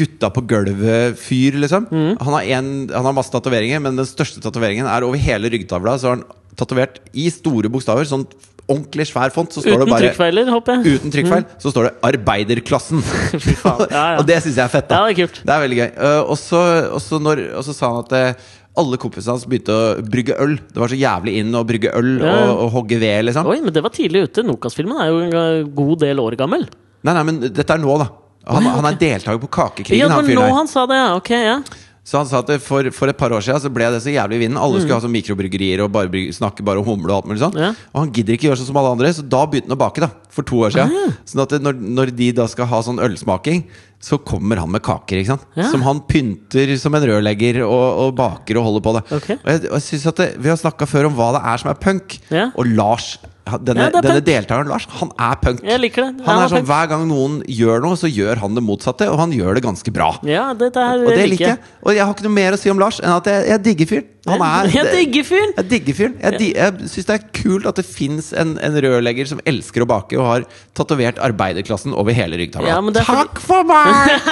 Speaker 2: gutta på gulvet-fyr, liksom.
Speaker 1: Mm.
Speaker 2: Han, har en, han har masse tatoveringer, men den største tatoveringen er over hele ryggtavla. Så har han tatovert i store bokstaver, sånn ordentlig svær font, så står
Speaker 1: Uten
Speaker 2: det bare
Speaker 1: trykkfeiler, håper jeg.
Speaker 2: Uten trykkfeil så står det 'Arbeiderklassen'.
Speaker 1: Mm. faen. Ja, ja.
Speaker 2: og det syns jeg er fett. da
Speaker 1: Ja, det er kult.
Speaker 2: Det er veldig gøy. Eh, og så- og så når- og så sa han at eh, alle kompisene hans begynte å brygge øl. Det var så jævlig inn å brygge øl
Speaker 1: Ja, ja.
Speaker 2: og, og hogge ved, liksom.
Speaker 1: Oi, men det var tidlig ute. Nokas-filmen er jo en god del år gammel.
Speaker 2: Nei, nei, men dette er nå, da. Han, han er deltaker på Kakekrigen.
Speaker 1: Ja,
Speaker 2: han
Speaker 1: men
Speaker 2: fyren
Speaker 1: nå
Speaker 2: her.
Speaker 1: han sa det, ja. Ok, ja.
Speaker 2: Så han sa at det for, for et par år siden så ble det så jævlig i vinden. Alle skulle ha sånn mikrobryggerier og bare bryg, snakke bare om humle og alt mulig sånt.
Speaker 1: Mm. Ja.
Speaker 2: Og han gidder ikke gjøre sånn som alle andre, så da begynte han å bake, da. For to år siden.
Speaker 1: Ah.
Speaker 2: Sånn at det, når, når de da skal ha sånn ølsmaking, så kommer han med kaker, ikke sant.
Speaker 1: Ja.
Speaker 2: Som han pynter som en rørlegger og, og baker og holder på det.
Speaker 1: Ok.
Speaker 2: Og jeg, og jeg synes at det, Vi har snakka før om hva det er som er punk,
Speaker 1: Ja.
Speaker 2: og Lars han- denne,
Speaker 1: Ja, det er
Speaker 2: denne
Speaker 1: punk.
Speaker 2: deltakeren Lars, han er punk.
Speaker 1: Jeg liker det.
Speaker 2: Han
Speaker 1: Han
Speaker 2: er
Speaker 1: er
Speaker 2: sånn, Hver gang noen gjør noe, så gjør han det motsatte, og han gjør det ganske bra.
Speaker 1: ja det der
Speaker 2: Og det liker jeg. Og jeg har ikke noe mer å si om Lars enn at jeg, jeg digger fyren. Han er
Speaker 1: Jeg digger fyren!
Speaker 2: Jeg digger fyren. Jeg, di- jeg syns det er kult at det fins en, en rørlegger som elsker å bake og har tatovert arbeiderklassen over hele ryggtavla.
Speaker 1: Ja, men det er fordi-
Speaker 2: Takk for meg!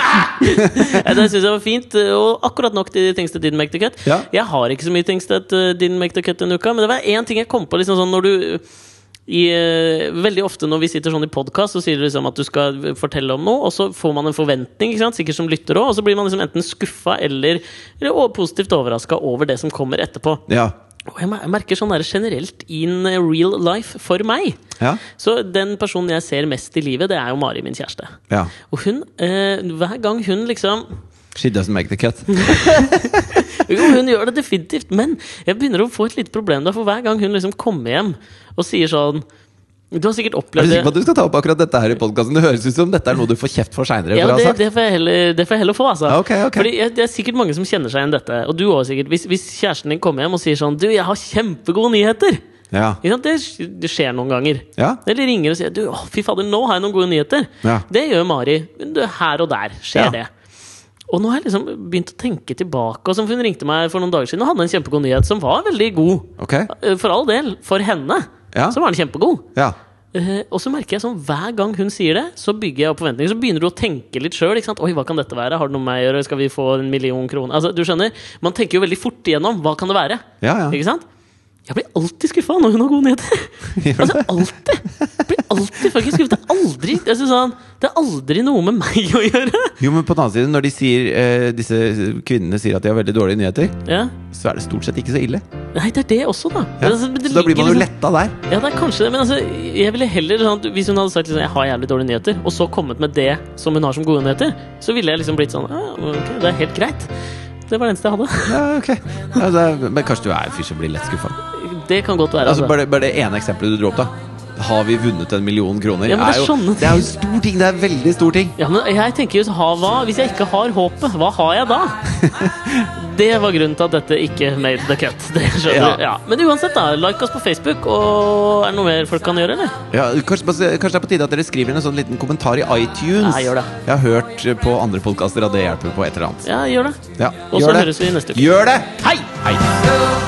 Speaker 1: Ja, det syns jeg var fint, eh, og akkurat nok til Things That Didn't Make The Cut.
Speaker 2: Ja.
Speaker 1: Jeg har ikke så mye Things That uh, Didn't Make The Cut denne uka, men det var én ting jeg kom på liksom sånn når du i, eh, veldig ofte når vi sitter sånn i podkast, så sier du liksom at du skal fortelle om noe, og så får man en forventning, ikke sant? sikkert som lytter òg, og så blir man liksom enten skuffa eller, eller o- positivt overraska over det som kommer etterpå.
Speaker 2: Ja.
Speaker 1: Og jeg mer- merker sånn der generelt in real life for meg.
Speaker 2: Ja.
Speaker 1: Så den personen jeg ser mest i livet, det er jo Mari, min kjæreste.
Speaker 2: ja.
Speaker 1: Og hun, eh, hver gang hun liksom
Speaker 2: She doesn't make the cut.
Speaker 1: Jo, hun gjør det definitivt, men jeg begynner å få et lite problem da, for hver gang hun liksom kommer hjem og sier sånn Du har sikkert
Speaker 2: Er du
Speaker 1: opplevd
Speaker 2: sikker
Speaker 1: det.
Speaker 2: på at du skal ta opp akkurat dette her i podkasten? Det høres ut som dette er noe du får kjeft for seinere.
Speaker 1: Ja, det, det, får jeg heller, det får jeg heller få, altså.
Speaker 2: Ja, ok, ok.
Speaker 1: Fordi jeg, Det er sikkert mange som kjenner seg igjen i dette. Og du også, sikkert. Hvis, hvis kjæresten din kommer hjem og sier sånn Du, jeg har kjempegode nyheter!
Speaker 2: ja.
Speaker 1: Ikke sant? Det, sk- det skjer noen ganger.
Speaker 2: Ja.
Speaker 1: Eller ringer og sier du, å, 'fy fader, nå har jeg noen gode nyheter'.
Speaker 2: Ja.
Speaker 1: Det gjør Mari. Du, Her og der skjer
Speaker 2: Ja.
Speaker 1: det. Og nå har jeg liksom begynt å tenke tilbake. Og som Hun ringte meg for noen dager siden og hadde en kjempegod nyhet som var veldig god.
Speaker 2: Ok.
Speaker 1: Eh, For all del. For henne.
Speaker 2: Ja.
Speaker 1: Så var den kjempegod.
Speaker 2: Ja.
Speaker 1: Eh, og så merker jeg sånn hver gang hun sier det, så bygger jeg opp forventninger. Så begynner du å tenke litt sjøl. Oi, hva kan dette være? Har det noe med meg å gjøre? Skal vi få en million kroner? Altså, du skjønner, Man tenker jo veldig fort igjennom. Hva kan det være?
Speaker 2: Ja, ja.
Speaker 1: Ikke sant? Jeg blir alltid skuffa når hun har gode nyheter! altså, alltid! Jeg blir alltid fucking skuffet. Det er aldri jeg synes sånn, Det er aldri noe med meg å gjøre!
Speaker 2: Jo, men på den annen side, når de sier, eh, disse kvinnene sier at de har veldig dårlige nyheter,
Speaker 1: Ja.
Speaker 2: så er det stort sett ikke så ille.
Speaker 1: Nei, det er det også, da.
Speaker 2: Ja.
Speaker 1: Men altså, det
Speaker 2: Så da blir
Speaker 1: ligger
Speaker 2: man jo
Speaker 1: liksom-
Speaker 2: letta der.
Speaker 1: Ja, det er kanskje det, men altså, jeg ville heller sånn at Hvis hun hadde sagt liksom, jeg har jævlig dårlige nyheter, og så kommet med det som hun har som gode nyheter, så ville jeg liksom blitt sånn ja, ok, det er helt greit. Det var det eneste jeg hadde.
Speaker 2: Ja, ok ja, det er, Men kanskje du er en fyr som blir lett skuffa.
Speaker 1: Det kan godt være.
Speaker 2: Altså,
Speaker 1: Altså,
Speaker 2: bare, bare det ene eksempelet du dro opp, da. Har vi vunnet en million kroner?
Speaker 1: Ja, men det er
Speaker 2: jo,
Speaker 1: sånne
Speaker 2: det er jo en stor ting! Det er en veldig stor ting.
Speaker 1: Ja, men jeg tenker jo, ha hva? Hvis jeg ikke har håpet, hva har jeg da? Det var grunnen til at dette ikke made the cut. Det skjønner
Speaker 2: Ja.
Speaker 1: du. Ja. Men uansett, da. Like oss på Facebook, og er det noe mer folk kan gjøre, eller?
Speaker 2: Ja, kanskje, kanskje det er på tide at dere skriver en sånn liten kommentar i iTunes?
Speaker 1: Ja, gjør det.
Speaker 2: Jeg har hørt på andre podkaster at det hjelper på et eller annet.
Speaker 1: Ja, gjør det.
Speaker 2: Ja,
Speaker 1: Og så
Speaker 2: gjør det.
Speaker 1: høres vi neste uke.
Speaker 2: Gjør det!
Speaker 1: Hei!
Speaker 2: Hei!
Speaker 4: Go